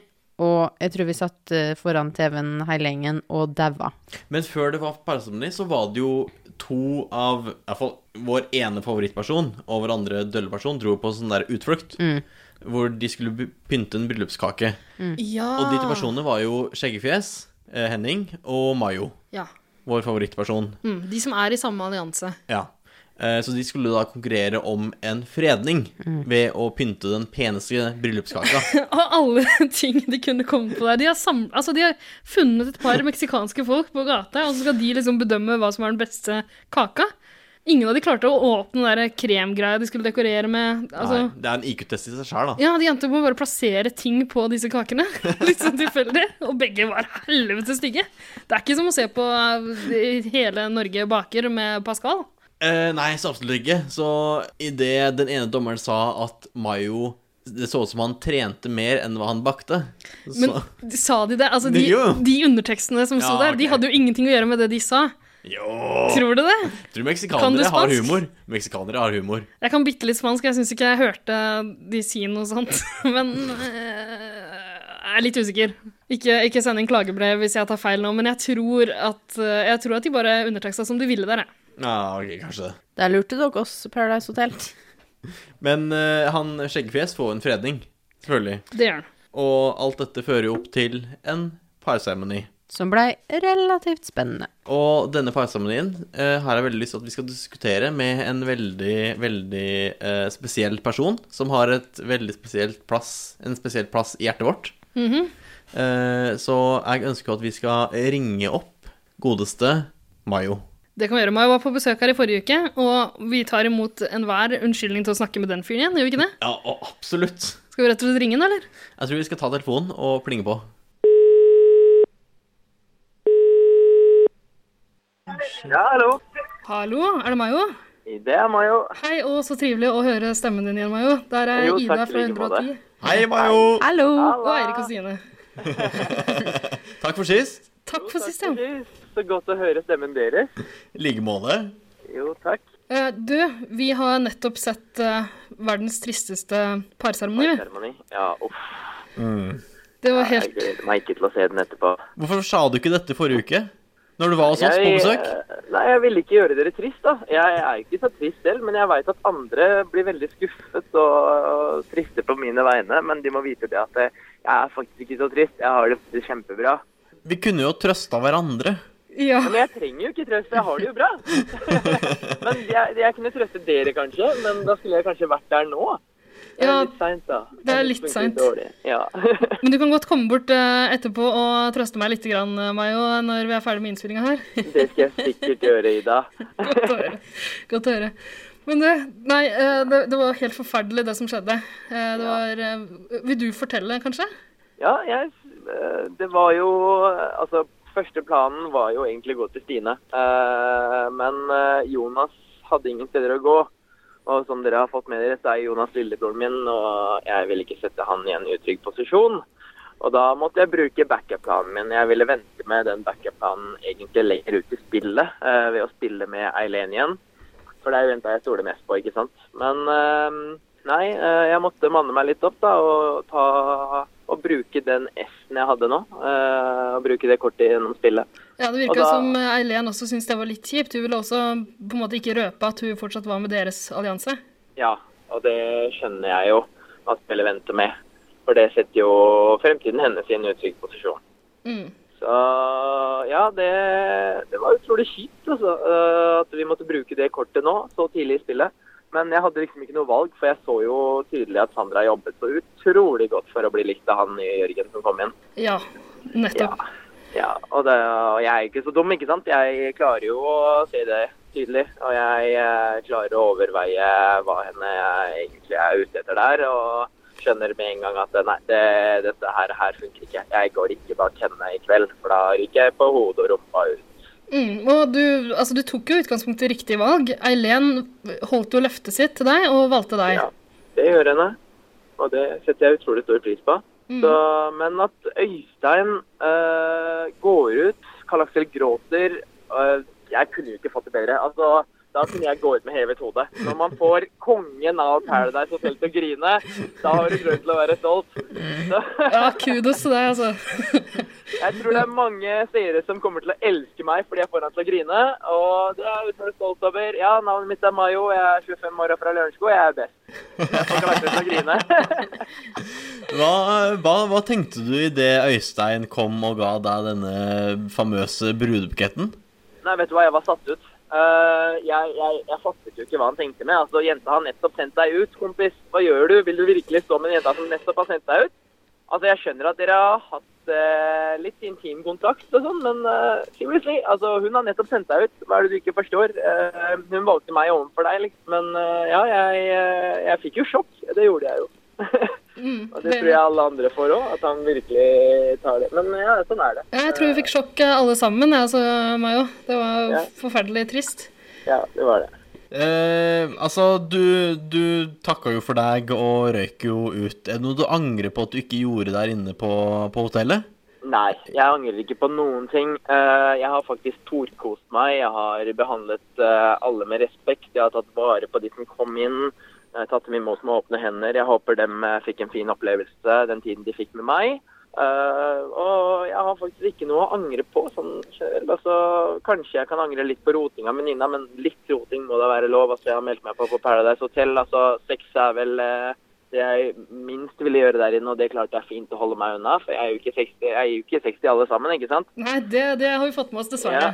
S3: og jeg tror vi satt eh, foran TV-en hele gjengen og daua.
S6: Men før det var parseremoni, så var det jo to av i hvert fall vår ene favorittperson og vår andre dølle person dro på sånn der utflukt.
S3: Mm.
S6: Hvor de skulle by- pynte en bryllupskake.
S5: Mm. Ja.
S6: Og de
S3: Ah.
S6: to personene var jo Skjeggefjes, eh, Henning og Mayo.
S5: Ja.
S6: Vår favorittperson.
S5: Mm, de som er i samme allianse.
S3: Mm.
S6: Ja. Eh, Så de skulle da konkurrere om en fredning
S3: Mm.
S6: ved å pynte den peneste bryllupskaka.
S5: Av alle ting de kunne komme på der. De har, sam altså, de har funnet et par meksikanske folk på gata, og så skal de liksom bedømme hva som er den beste kaka. Ingen av de klarte å åpne den der kremgreia de skulle dekorere med. Altså,
S6: Nei, det er en IQ-test i seg sjøl, da.
S5: ja, De endte opp med å bare plassere ting på disse kakene. Litt sånn tilfeldig. Og begge var helvete stygge. Det er ikke som å se på eh, Hele Norge baker med Pascal.
S6: Eh, nei, så absolutt ikke. Så idet den ene dommeren sa at Mayo Det så ut som han trente mer enn hva han bakte. Så,
S5: Men de- sa de det? Altså, de,
S6: Jo.
S5: de undertekstene som sto
S6: Ja,
S5: der, de hadde jo ingenting å gjøre med det de sa.
S6: jo.
S5: Tror du det?
S6: Tror
S5: Kan du
S6: meksikanere har
S5: spansk?
S6: humor. Meksikanere har humor.
S5: Jeg kan bitte litt spansk, jeg syns ikke jeg hørte de si noe sånt. Men eh, jeg er litt usikker. Ikke, ikke send inn klagebrev hvis jeg tar feil nå, men jeg tror at, eh, jeg tror at de bare underteksta som de ville der, jeg.
S6: Ja, ok, kanskje det.
S3: Der lurte dere oss, Paradise Hotel.
S6: Men eh, han Skjeggefjes får jo en fredning, selvfølgelig.
S5: Det gjør han.
S6: Og alt dette fører jo opp til en parseremoni.
S3: Som blei relativt spennende.
S6: Og denne parseremonien eh, har jeg veldig lyst til at vi skal diskutere med en veldig, veldig eh, spesiell person som har et veldig spesielt plass, en spesiell plass i hjertet vårt.
S5: Mhm.
S6: Eh, så jeg ønsker jo at vi skal ringe opp godeste Mayo.
S5: Det kan vi gjøre. Mai var på besøk her i forrige uke, og vi tar imot enhver unnskyldning til å snakke med den fyren igjen, gjør vi ikke det?
S6: Ja, og absolutt.
S5: Skal vi rett og slett ringe han, eller?
S6: Jeg tror vi skal ta telefonen og plinge på.
S11: Ja, hallo.
S5: Hallo, er det Mayo?
S11: Det er Mayo.
S5: Hei, og så trivelig å høre stemmen din igjen, Mayo. Der er
S11: Jo,
S5: Ida
S11: takk,
S5: fra
S11: i like måte.
S5: 110.
S6: Hei, Mayo!
S3: Hallo!
S5: Og Eirik og Stine.
S6: Takk for sist.
S5: Takk for sist, ja.
S11: Så godt å høre stemmen deres.
S6: I like måte.
S11: Jo, takk.
S5: Eh, du, vi har nettopp sett eh, verdens tristeste parseremoni. vi.
S11: Seremoni. Ja, uff.
S5: Det var
S11: Jeg
S5: helt
S11: gleder meg ikke til å se den etterpå.
S6: Hvorfor sa du ikke dette forrige uke? Når du var hos oss på
S11: Jeg-
S6: besøk?
S11: Nei, jeg ville ikke gjøre dere trist, da. Jeg er ikke så trist selv, men jeg veit at andre blir veldig skuffet og triste på mine vegne. Men de må vite det at eh, jeg er faktisk ikke så trist. Jeg har det kjempebra.
S6: Vi kunne jo trøsta hverandre.
S11: Men jeg trenger jo ikke trøst, for jeg har det jo bra. men jeg, jeg kunne trøste dere kanskje, men da skulle jeg kanskje vært der nå. Det er
S5: Ja,
S11: litt seint, da.
S5: det er litt
S11: funket
S5: sent.
S11: dårlig. Ja.
S5: Men du kan godt komme bort eh, etterpå og trøste meg litt, grann, eh, Mayo, når vi er ferdig med innspillinga her.
S11: Det skal jeg sikkert gjøre, Ida.
S5: Godt å høre. Godt å høre. Men det, nei, eh, det, det var helt forferdelig, det som skjedde. Eh, Det var eh, Vil du fortelle, kanskje?
S11: Ja, jeg, eh, det var jo Altså, første planen var jo egentlig å gå til Stine. Eh, Men eh, Jonas hadde ingen steder å gå. Og som dere har fått med dere, så er Jonas lillebroren min, og jeg ville ikke sette han i en utrygg posisjon. Og da måtte jeg bruke backup-planen min. Jeg ville vente med den backup-planen egentlig lenger ut i spillet, eh, ved å spille med Eileen igjen. For det er jo jenta jeg stoler mest på, ikke sant. Men eh, nei, eh, jeg måtte manne meg litt opp da, og, ta, og bruke den S-en jeg hadde nå. eh, og bruke det kortet gjennom spillet.
S5: Ja, Det
S11: Og
S5: virka
S11: da-
S5: som eh, Eileen også syntes det var litt kjipt. Hun ville også på en måte ikke røpe at hun fortsatt var med deres allianse.
S11: Ja, og det skjønner jeg jo at spillet venter med. For det setter jo fremtiden hennes i en utrygg posisjon.
S5: Mm.
S11: Så ja, det, det var utrolig kjipt altså, eh, at vi måtte bruke det kortet nå, så tidlig i spillet. Men jeg hadde liksom ikke noe valg, for jeg så jo tydelig at Sandra jobbet så utrolig godt for å bli likt av han nye Jørgen som kom inn.
S5: Ja, nettopp.
S11: Ja, og, det, og jeg er ikke så dum, ikke sant? Jeg klarer jo å se det tydelig. Og jeg eh, klarer å overveie hva henne jeg egentlig er ute etter der. Og skjønner med en gang at nei, det, dette her, her funker ikke. Jeg går ikke bak henne i kveld, for da ryker jeg på hodet og rumpa ut.
S5: Mm, og du, altså, du tok jo utgangspunktet riktig valg. Eileen holdt jo løftet sitt til deg og valgte deg.
S11: Det gjør henne, og det setter jeg utrolig stor pris på.
S5: Mm.
S11: Så, men at Øystein eh, går ut, Karl Aksel gråter eh, Jeg kunne jo ikke fått det bedre. Altså, da kunne jeg gå ut med hevet hode. Når man får kongen av Paradise Hotel til å grine, da har du grunn til å være stolt. Så,
S5: Ja, kudos til deg, altså.
S11: jeg tror det er mange seere som kommer til å elske meg fordi jeg får han til å grine. Og det er jeg utrolig stolt over. Ja, navnet mitt er Mayo, jeg er 25 år og fra Lørenskog, jeg er best. Jeg får Karl Aksel til å grine.
S6: Hva, hva, hva tenkte du idet Øystein kom og ga deg denne famøse brudebuketten?
S11: Nei, vet du hva, jeg var satt ut. Eh, jeg, jeg, jeg fattet jo ikke hva han tenkte med. Altså, Jenta har nettopp sendt deg ut, kompis. Hva gjør du? Vil du virkelig stå med en jenta som nettopp har sendt deg ut? Altså, Jeg skjønner at dere har hatt eh, litt intim kontakt og sånn, men eh, seriously, altså, hun har nettopp sendt deg ut. Hva er det du ikke forstår? Eh, hun valgte meg overfor deg, liksom. Men eh, ja, jeg, eh, jeg fikk jo sjokk. Det gjorde jeg jo.
S5: Mm,
S11: Og det tror jeg alle andre får òg, at han virkelig tar det. Men ja, sånn er det.
S5: Ja, Jeg tror vi fikk sjokk eh, alle sammen, jeg, altså, Mayo. Det var
S11: Ja.
S5: forferdelig trist.
S11: Ja, det var det.
S6: Eh, altså, du, du takka jo for deg og røyk jo ut. Er det noe du angrer på at du ikke gjorde der inne på, på hotellet?
S11: Nei, jeg angrer ikke på noen ting. Eh, Jeg har faktisk torkost meg. Jeg har behandlet eh, alle med respekt. Jeg har tatt vare på de som kom inn. Jeg har tatt dem imot med åpne hender. Jeg håper dem eh, fikk en fin opplevelse den tiden de fikk med meg. Eh, og jeg har faktisk ikke noe å angre på. Sånn, generelt. altså, kanskje jeg kan angre litt på rotinga med Nina, men litt roting må da være lov. Altså, jeg har meldt meg på på Paradise Hotel. Altså, sex er vel eh, det jeg minst ville gjøre der inne, og det klarte jeg fint å holde meg unna. For jeg er jo ikke 60, jeg er jo ikke 60 alle sammen, ikke sant?
S5: Nei, det, det har vi fått med oss, dessverre.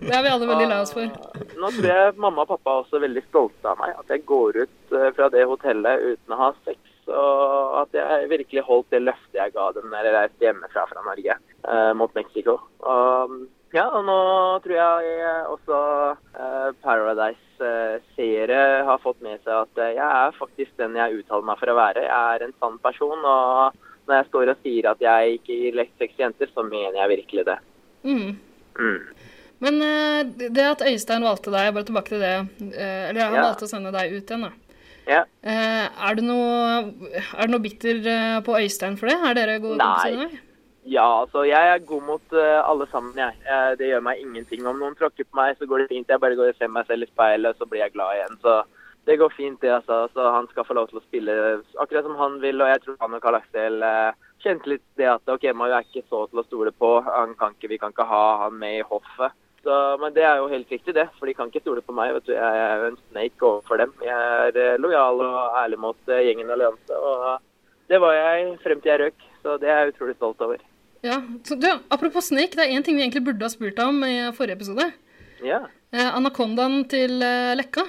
S5: Det er vi alle veldig lei oss for.
S11: Nå tror jeg mamma og pappa er også veldig stolte av meg. At jeg går ut eh, fra det hotellet uten å ha sex. Og at jeg virkelig holdt det løftet jeg ga dem når jeg reiste hjemmefra fra Norge eh, mot Mexico. Og, ja, og nå tror jeg også eh, Paradise-seere har fått med seg at eh, jeg er faktisk den jeg uttaler meg for å være. Jeg er en sann person. og når jeg står og sier at jeg ikke gir lett sex til jenter, så mener jeg virkelig det.
S5: Mm.
S11: Mm.
S5: Men eh, det at Øystein valgte deg, bare tilbake til det eh, Eller han
S11: Ja.
S5: valgte å sende deg ut igjen, da.
S11: Ja.
S5: Eh, Er du noe, er du noe bitter eh, på Øystein for det? Er dere gode
S11: Nei.
S5: kompiser? nå?
S11: Ja, altså jeg er god mot eh, alle sammen, jeg. Eh, det gjør meg ingenting. Om noen tråkker på meg, så går det fint. Jeg bare går og ser meg selv i speilet, så blir jeg glad igjen. Så det går fint, det, altså. Så han skal få lov til å spille akkurat som han vil, og jeg tror han og Karl Aksel eh, kjente litt det at ok, Mayo er ikke så til å stole på. Han kan ikke, vi kan ikke ha han med i hoffet. Så, men det er jo helt riktig, det. For de kan ikke stole på meg. vet du. Jeg er jo en snake overfor dem. Jeg er eh, lojal og ærlig mot eh, gjengen Allianse. Og eh, det var jeg frem til jeg røk. Så det er jeg utrolig stolt over.
S5: Ja. Så, du, apropos Snake, det er én ting vi egentlig burde ha spurt deg om i forrige episode.
S11: Ja.
S5: Eh, anakondaen til eh, Lekka.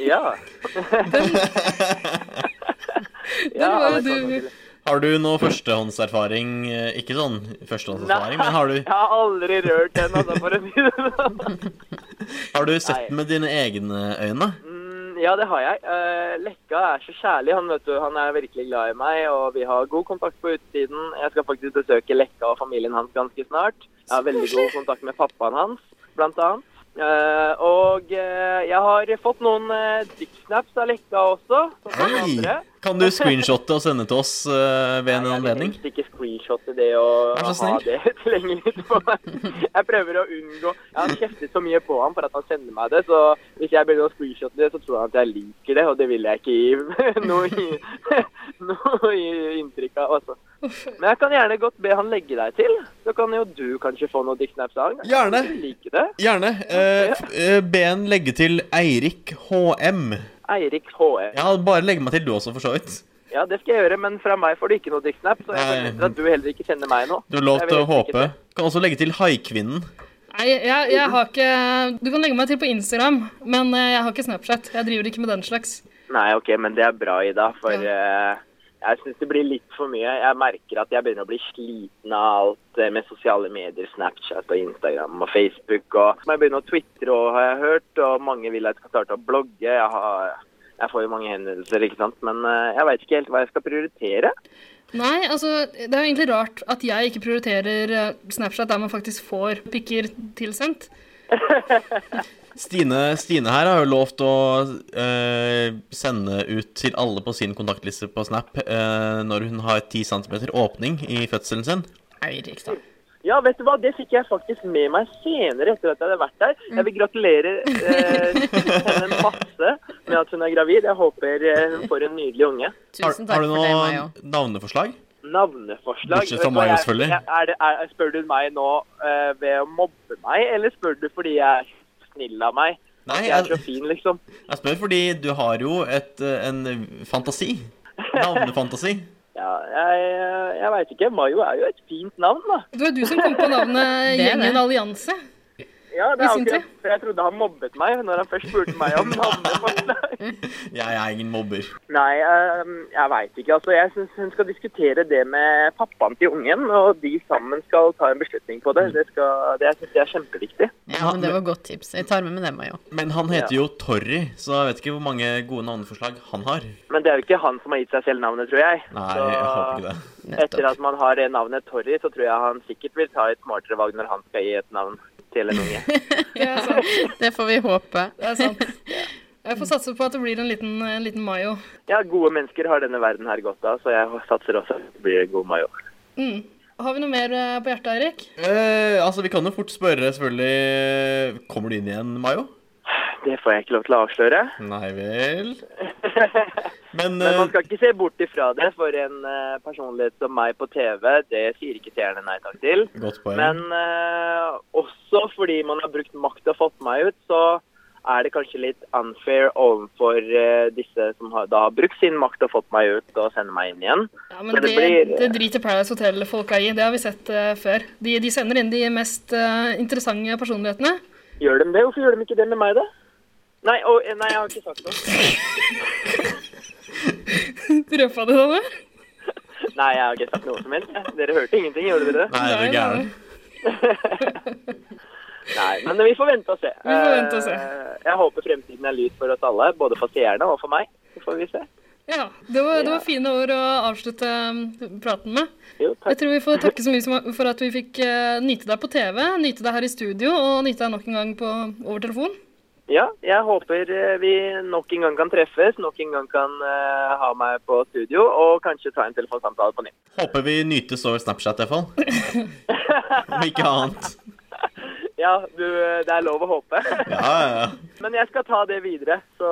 S11: Ja.
S5: Den var jo
S11: anakondaen
S5: du
S6: Har du noe førstehåndserfaring eh, Ikke sånn førstehåndserfaring, men har du,
S11: Jeg har aldri rørt den, altså, for å si det sånn.
S6: har du sett den med dine egne øyne?
S11: Mm, Ja, det har jeg. Eh, Lekka er så kjærlig. Han, vet du, han er virkelig glad i meg, og vi har god kontakt på utsiden. Jeg skal faktisk besøke Lekka og familien hans ganske snart. Jeg har veldig god kontakt med pappaen hans, blant annet. Eh, og eh, jeg har fått noen eh, dicksnaps av Lekka også. som alle
S6: Hei!
S11: andre.
S6: Kan du screenshotte og sende til oss eh, ved en anledning?
S11: helst ikke screenshotte det og
S6: Vær så
S11: ha
S6: snill.
S11: det tilgjengelig for meg. Jeg prøver å unngå Jeg har kjeftet så mye på ham for at han sender meg det, så hvis jeg begynner å screenshotte det, så tror han at jeg liker det, og det vil jeg ikke gi noe, i- noe i- inntrykk av. Altså. Men jeg kan gjerne godt be han legge deg til, så kan jo du kanskje få noe dicksnaps av han.
S6: Gjerne.
S11: Du liker det.
S6: Gjerne. Eh, f- eh, be en legge til Eirik HM.
S11: Eirik HE.
S6: Ja, bare legg meg til du også, for så vidt.
S11: Ja, det skal jeg gjøre, men fra meg får du ikke noe dicksnap, så jeg
S6: Nei.
S11: forventer at du heller ikke kjenner meg nå.
S6: Du har lov
S11: Jeg vil
S6: til å
S11: helst ikke
S6: håpe. Kan også legge til Haikvinnen.
S5: Nei, jeg, jeg har ikke Du kan legge meg til på Instagram, men eh, jeg har ikke Snapchat. Jeg driver ikke med den slags.
S11: Nei, ok, men det er bra, Ida, for eh, jeg syns det blir litt for mye. Jeg merker at jeg begynner å bli sliten av alt eh, med sosiale medier, Snapchat og Instagram og Facebook. Og så må jeg begynne å twitre òg, har jeg hørt, og mange vil at jeg skal starte å blogge. Jeg, har, jeg får jo mange henvendelser, ikke sant, men eh, jeg veit ikke helt hva jeg skal prioritere.
S5: Nei, altså, det er jo egentlig rart at jeg ikke prioriterer eh, Snapchat der man faktisk får pikker tilsendt.
S6: Stine, Stine her har jo lovt å eh, sende ut til alle på sin kontaktliste på Snap eh, når hun har 10 cm åpning i fødselen sin.
S5: Eirik, da.
S11: Ja, vet du hva, det fikk jeg faktisk med meg senere etter at jeg hadde vært der. Jeg vil gratulere eh, henne masse med at hun er gravid. Jeg håper eh, hun får en nydelig unge.
S6: Har, har du noe navneforslag?
S11: Navneforslag?
S6: Bortsett fra
S11: Vet du hva,
S6: meg,
S11: jeg-
S6: selvfølgelig.
S11: jeg- Er det, er, spør du meg nå eh, ved å mobbe meg, eller spør du fordi jeg er snill av meg?
S6: Nei,
S11: At jeg er
S6: jeg-
S11: så fin, liksom.
S6: Jeg spør fordi du har jo et, eh, en fantasi. Navnefantasi.
S11: Ja, jeg, jeg veit ikke. Mayo er jo et fint navn, da.
S5: Det var du som kom på navnet
S11: Det er det.
S5: Gjengen Allianse.
S11: Ja, det
S5: I
S11: er
S5: sin
S11: akkurat. For jeg trodde han mobbet meg når han først spurte meg om navneforslag.
S6: Jeg er ingen mobber.
S11: Nei, eh, jeg veit ikke. Altså, jeg syns hun skal diskutere det med pappaen til ungen, og de sammen skal ta en beslutning på det. Det, skal, det syns jeg er kjempeviktig.
S3: Ja, men det var godt tips. Jeg tar med meg det, Mayo.
S6: Men han heter jo Torry, så jeg vet ikke hvor mange gode navneforslag han har.
S11: Men det er jo ikke han som har gitt seg selv navnet, tror jeg.
S6: Nei, jeg håper ikke det.
S11: Etter at man har det navnet Torry, så tror jeg han sikkert vil ta et smartere valg når han skal gi et navn til en unge.
S3: Det får vi håpe.
S5: Det er sant. Jeg får satse på at det blir en liten, en liten Mayo.
S11: Ja, gode mennesker har denne verden her godt av, så jeg satser også at det blir god major.
S5: Mm. Har vi noe mer eh, på hjertet, Eirik?
S6: Eh, altså, vi kan jo fort spørre, selvfølgelig Kommer du inn igjen, Mayo?
S11: Det får jeg ikke lov til å avsløre.
S6: Nei vel. Men, eh,
S11: Men man skal ikke se bort ifra det, for en eh, personlighet som meg på TV, det sier ikke seerne nei takk til.
S6: Godt poeng.
S11: Men eh, også fordi man har brukt makt og fått meg ut, så er det kanskje litt unfair overfor eh, disse som har, da har brukt sin makt og fått meg ut og sender meg inn igjen.
S5: Ja, men
S11: Så
S5: det,
S11: det blir-
S5: det driter Paradise Hotel-folka i. Det har vi sett eh, før. De, de sender inn de mest eh, interessante personlighetene.
S11: Gjør de det? Hvorfor gjør de ikke det med meg, da? Nei, å, eh, nei jeg har ikke sagt noe.
S5: Røpa du denne?
S11: Nei, jeg har ikke sagt noe som helst. jeg. Dere hørte ingenting, gjorde dere det?
S6: Nei, er du gæren?
S11: Nei, men eh, vi får vente og se.
S5: Vi får vente og se.
S11: Eh, Jeg håper fremtiden er lys for oss alle, både for seerne og for meg. Så får vi se.
S5: Ja, det var, det var fine ord å avslutte mm, praten med.
S11: Jo, takk.
S5: Jeg tror vi får takke så mye som- for at vi fikk eh, nyte deg på TV, nyte deg her i studio og nyte deg nok en gang på, over telefon.
S11: Ja, jeg håper eh, vi nok en gang kan treffes, nok en gang kan eh, ha meg på studio, og kanskje ta en telefonsamtale på nytt.
S6: Håper vi nytes over Snapchat, i hvert fall. Om ikke annet.
S11: Ja, du, eh, det er lov å håpe.
S6: Ja, ja, ja.
S11: Men jeg skal ta det videre, så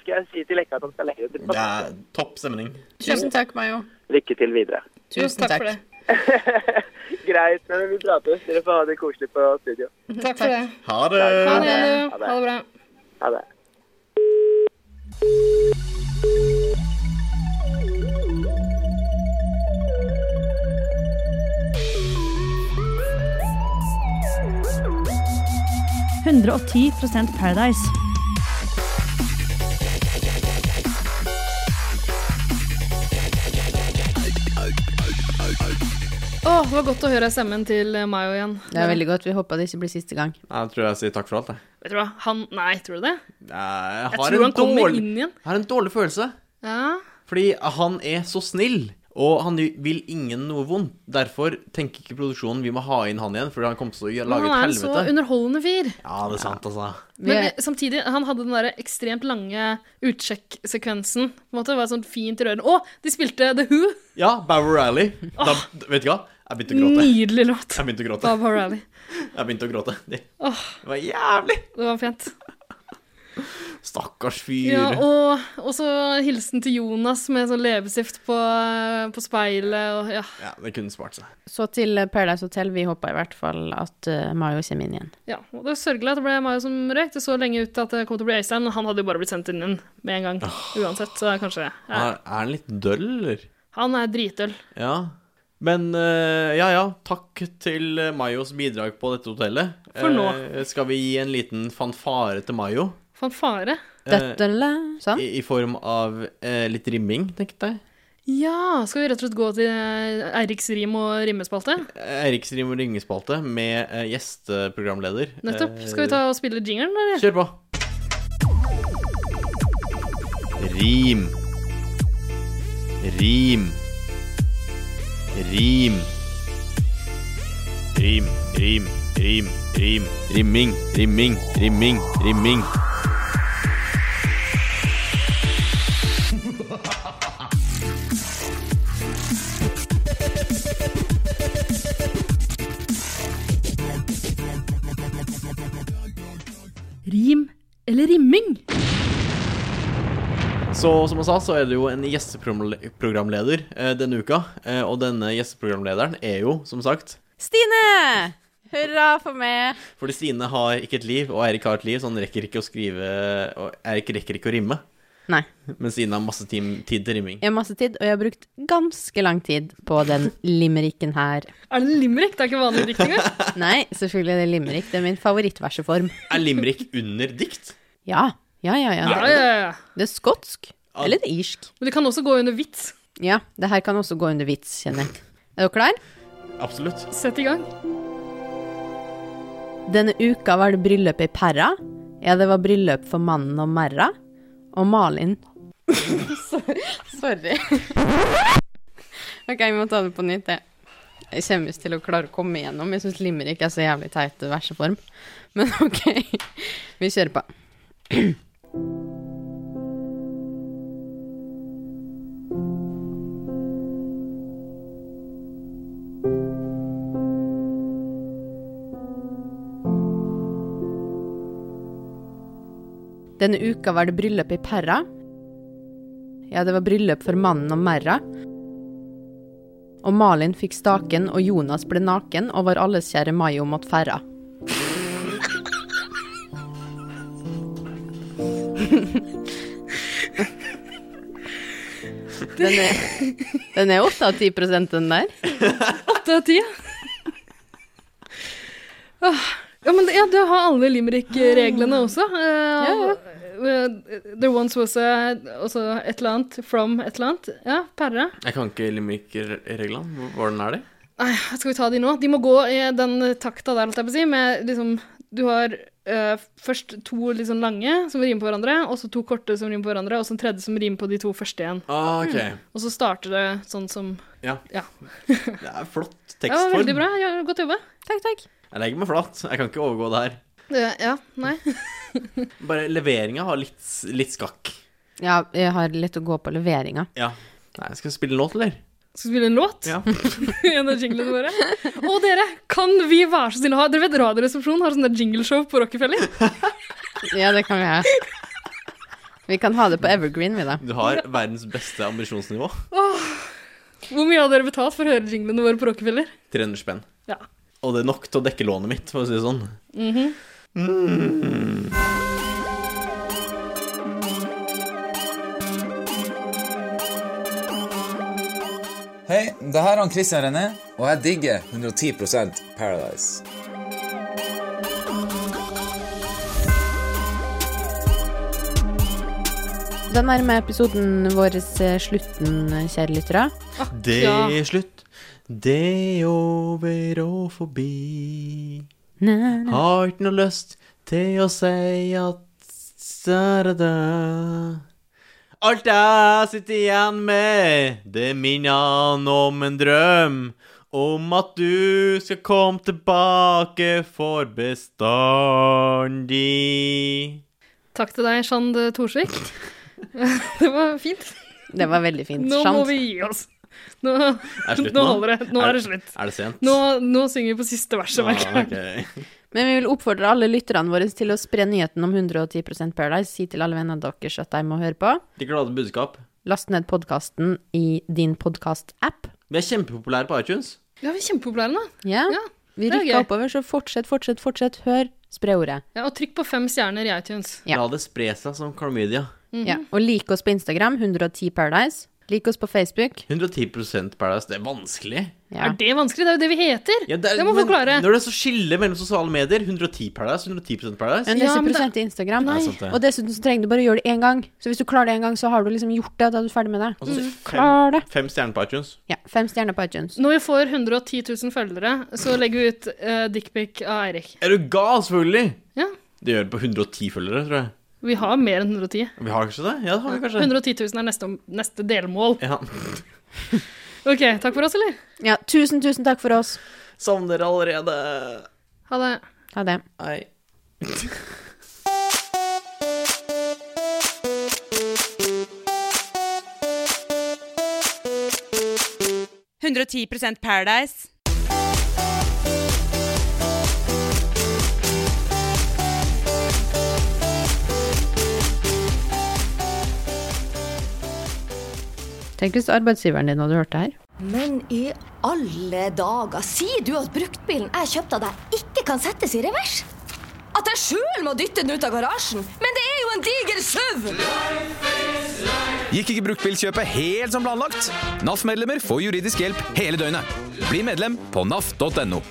S11: skal jeg si til Lekka at han skal legge det til.
S6: Det er topp stemning.
S3: Tusen takk, Mayo.
S11: lykke til videre.
S14: Tusen takk. for det.
S11: Greit, men vi prates. Dere får ha det koselig på studio.
S5: Takk for det.
S6: Ha
S5: Ha det. du. Ha det bra.
S11: Ha det.
S15: Paradise.
S5: Åh, det var godt å høre stemmen til eh, Mayo igjen.
S3: Det er veldig godt. Vi håper det ikke blir siste gang.
S6: Jeg tror jeg sier takk for alt, jeg.
S5: Vet du hva, han Nei, tror du det?
S6: Jeg
S5: Jeg
S6: har
S5: tror
S6: en
S5: han kommer
S6: dårlig-
S5: inn igjen.
S6: Jeg har en dårlig følelse.
S5: Ja.
S6: Fordi han er så snill, og han vil ingen noe vondt. Derfor tenker ikke produksjonen vi må ha inn han igjen, fordi han kommer til å
S5: Men
S6: lage
S5: han
S6: et
S5: er en så
S6: helvete.
S5: underholdende fyr.
S6: Ja, det er sant, altså.
S5: Men eh, samtidig, han hadde den der ekstremt lange utsjekksekvensen. På en måte, det var sånn fint rørende. Å, de spilte The Who!
S6: Ja, Bow Riley. Da, vet du hva? Jeg begynte å gråte.
S5: Nydelig låt.
S6: Jeg begynte å gråte.
S5: Bob O'Reilly.
S6: Jeg begynte å gråte. Det
S5: Åh,
S6: det var jævlig!
S5: det var fint.
S6: Stakkars fyr.
S5: Ja, og, og så hilsen til Jonas med sånn leppestift på, på speilet og ja.
S6: Ja, det kunne spart seg.
S3: Så til eh, Paradise Hotel. Vi håper i hvert fall at eh, Mayo kommer inn igjen.
S5: ja. Og det er sørgelig at det ble Mayo som røyk. Det så lenge ut til at det kom til å bli Øystein, men han hadde jo bare blitt sendt inn igjen med en gang. Uansett, så kanskje ja.
S6: Er, er han litt døll, eller?
S5: Han er dritøl.
S6: Ja. Men eh, ja, ja. Takk til eh, Mayos bidrag på dette hotellet.
S5: For nå.
S6: Eh, skal vi gi en liten fanfare til Mayo?
S5: Fanfare.
S6: Eh,
S3: Sånn.
S6: I, I form av eh, litt rimming, tenkte jeg.
S5: Ja, skal vi rett og slett gå til eh, Eiriks rim og rimmespalte?
S6: Eriks rim- og ringespalte med eh, gjesteprogramleder.
S5: Nettopp.
S6: Eh,
S5: Skal vi ta og spille jingeren, eller?
S6: Kjør på. Rim. Rim. Rim. Rim, rim, rim, rim. Rimming, rimming, rimming, rimming.
S5: Rim eller rimming?
S6: Så som jeg sa, så er det jo en gjesteprogramleder eh, denne uka. Eh, og denne gjesteprogramlederen er jo, som sagt
S3: Stine! Hurra for meg!
S6: Fordi Stine har ikke et liv, og Eirik har et liv, så han rekker ikke å skrive Og Eirik rekker ikke å rimme.
S3: Nei.
S6: Men Stine har masse tim- tid til rimming.
S3: Jeg har masse tid, og jeg har brukt ganske lang tid på den limericken her.
S5: Er det limerick? Det er ikke vanlig dikt engang.
S3: Nei, selvfølgelig er det limerick. Det er min favorittverseform.
S6: Er limerick under dikt?
S3: Ja. Ja, ja, ja.
S5: Ja, ja, ja.
S3: Det er skotsk. Eller det er irsk.
S5: Men det kan også gå under vits.
S3: Ja, det her kan også gå under vits, kjenner jeg. Er dere klar?
S6: Absolutt.
S5: Sett i gang.
S3: Denne uka var det bryllup i Perra. Ja, det var bryllup for mannen og merra. Og Malin Sorry. Ok, vi må ta det på nytt, jeg. Jeg kommer ikke til å klare å komme igjennom. Jeg syns limerick er så jævlig teit verseform. Men ok, vi kjører på. Denne uka var det bryllup i Perra. Ja, det var bryllup for mannen og merra. Og Malin fikk staken, og Jonas ble naken, og var alles kjære Mayo måtte ferra. Den er, den er 8 av 10 den der.
S5: 8 av 10? Åh. Ja, men det- ja, du har alle limerick-reglene også. Eh, eh, There once was a også et eller annet from et eller annet. Ja, Perra.
S6: Jeg kan ikke limerick-reglene. Hvordan er de?
S5: Nei, skal vi ta de nå? De må gå i den takta der, holdt jeg på å si, med liksom Du har eh, først to liksom lange som rimer på hverandre, og så to korte som rimer på hverandre, og så en tredje som rimer på de to første igjen.
S6: Ah, ok.
S5: Og så starter det sånn som
S6: Ja.
S5: Ja.
S6: Det er flott
S5: Ja,
S6: tekstform.
S5: veldig bra. Ja, godt jobba. Takk, takk.
S6: Jeg legger meg flat. Jeg kan ikke overgå det her.
S5: Det- Eh, Ja, nei.
S6: Bare leveringa har litt, litt skakk.
S3: Ja, jeg har litt å gå på leveringa.
S6: Ja. Nei, skal vi spille en låt, eller?
S5: Skal vi spille en låt?
S6: Ja.
S5: en av jinglene våre. Og dere, kan vi være så snille å ha Dere vet Radioresepsjonen har sånn der jingleshow på Rockefeller?
S3: Ja, det kan vi ha. Vi kan ha det på Evergreen, vi, da.
S6: Du har verdens beste ambisjonsnivå.
S5: Åh, Hvor mye har dere betalt for å høre jinglene våre på Rockefeller?
S6: 300 spenn.
S5: Ja.
S6: Og det er nok til å dekke lånet mitt, for å si det sånn.
S5: Mhm.
S6: Mm.
S14: Hei, det her er han Christian René, og jeg digger 110 Paradise.
S3: Da nærmer episoden vår eh, slutten, kjære lyttere.
S6: Det er slutt. Det er over og forbi. Har ikke noe lyst til å si at da-da-da. Alt jeg sitter igjen med, det minner om en drøm. Om at du skal komme tilbake for bestandig.
S5: Takk til deg, Shand Torsvik. det var fint.
S3: Det var veldig fint.
S5: Nå må
S3: sant?
S5: vi gi oss. Nå,
S6: Er det slutt
S5: nå
S6: nå?
S5: holder det. Nå er, det slutt.
S6: Er det sent?
S5: Nå, nå synger vi på siste verset, merker jeg.
S6: ok.
S3: Men vi vil oppfordre alle lytterne våre til å spre nyheten om 110 Paradise. Si til alle vennene deres at de må høre på.
S6: De glade budskap.
S3: Last ned podkasten i din podkast-app.
S6: Vi er kjempepopulære på iTunes.
S5: Ja, vi er kjempepopulære nå.
S3: Ja. Vi
S5: det er
S3: rykker
S5: gøy.
S3: oppover, så fortsett, fortsett, fortsett. Hør, spre ordet.
S5: Ja, og trykk på fem stjerner i iTunes.
S6: La det spre seg som klamydia.
S5: Mhm.
S3: ja. Og lik oss på Instagram, 110 Paradise. Lik oss på Facebook.
S6: 110 Paradise, det er vanskelig.
S3: Ja.
S5: Er det vanskelig? Det er jo det vi heter.
S6: Ja,
S5: det, må
S6: men
S5: folk klare.
S6: Når det er så skille mellom sosiale medier 110 Paradise, 110 Paradise
S3: Men disse prosent i Instagram.
S6: Nei. Ja, sant det.
S3: Og dessuten så trenger du bare å gjøre det én gang. Så hvis du klarer det én gang, så har du liksom gjort det, og da er du ferdig med det.
S6: Altså,
S3: Mm. Klar
S6: fem,
S3: det.
S6: fem stjerner på iTunes.
S3: Ja, fem stjerner på iTunes.
S5: Når vi får 110 000 følgere, så legger vi ut uh, dickpic av Eirik.
S6: Er du gal, selvfølgelig?
S5: Ja.
S6: Det gjør det på 110 følgere, tror jeg.
S5: Vi har mer enn 110.
S6: Vi har kanskje det? Ja, det har vi kanskje.
S5: 110 000 er neste, neste delmål.
S6: Ja.
S5: OK, takk for oss, eller?
S3: Ja, tusen, tusen takk for oss.
S6: Savner allerede.
S5: Ha det.
S3: Ha det.
S6: Nei.
S4: Paradise.
S3: Tenk hvis arbeidsgiveren din hadde hørt det her.
S15: Men i alle dager, sier du at bruktbilen jeg kjøpte av deg, ikke kan settes i revers? At jeg sjøl må dytte den ut av garasjen? Men det er jo en diger SUV!
S2: Gikk ikke bruktbilkjøpet helt som planlagt? NAF-medlemmer får juridisk hjelp hele døgnet. Bli medlem på naf.no.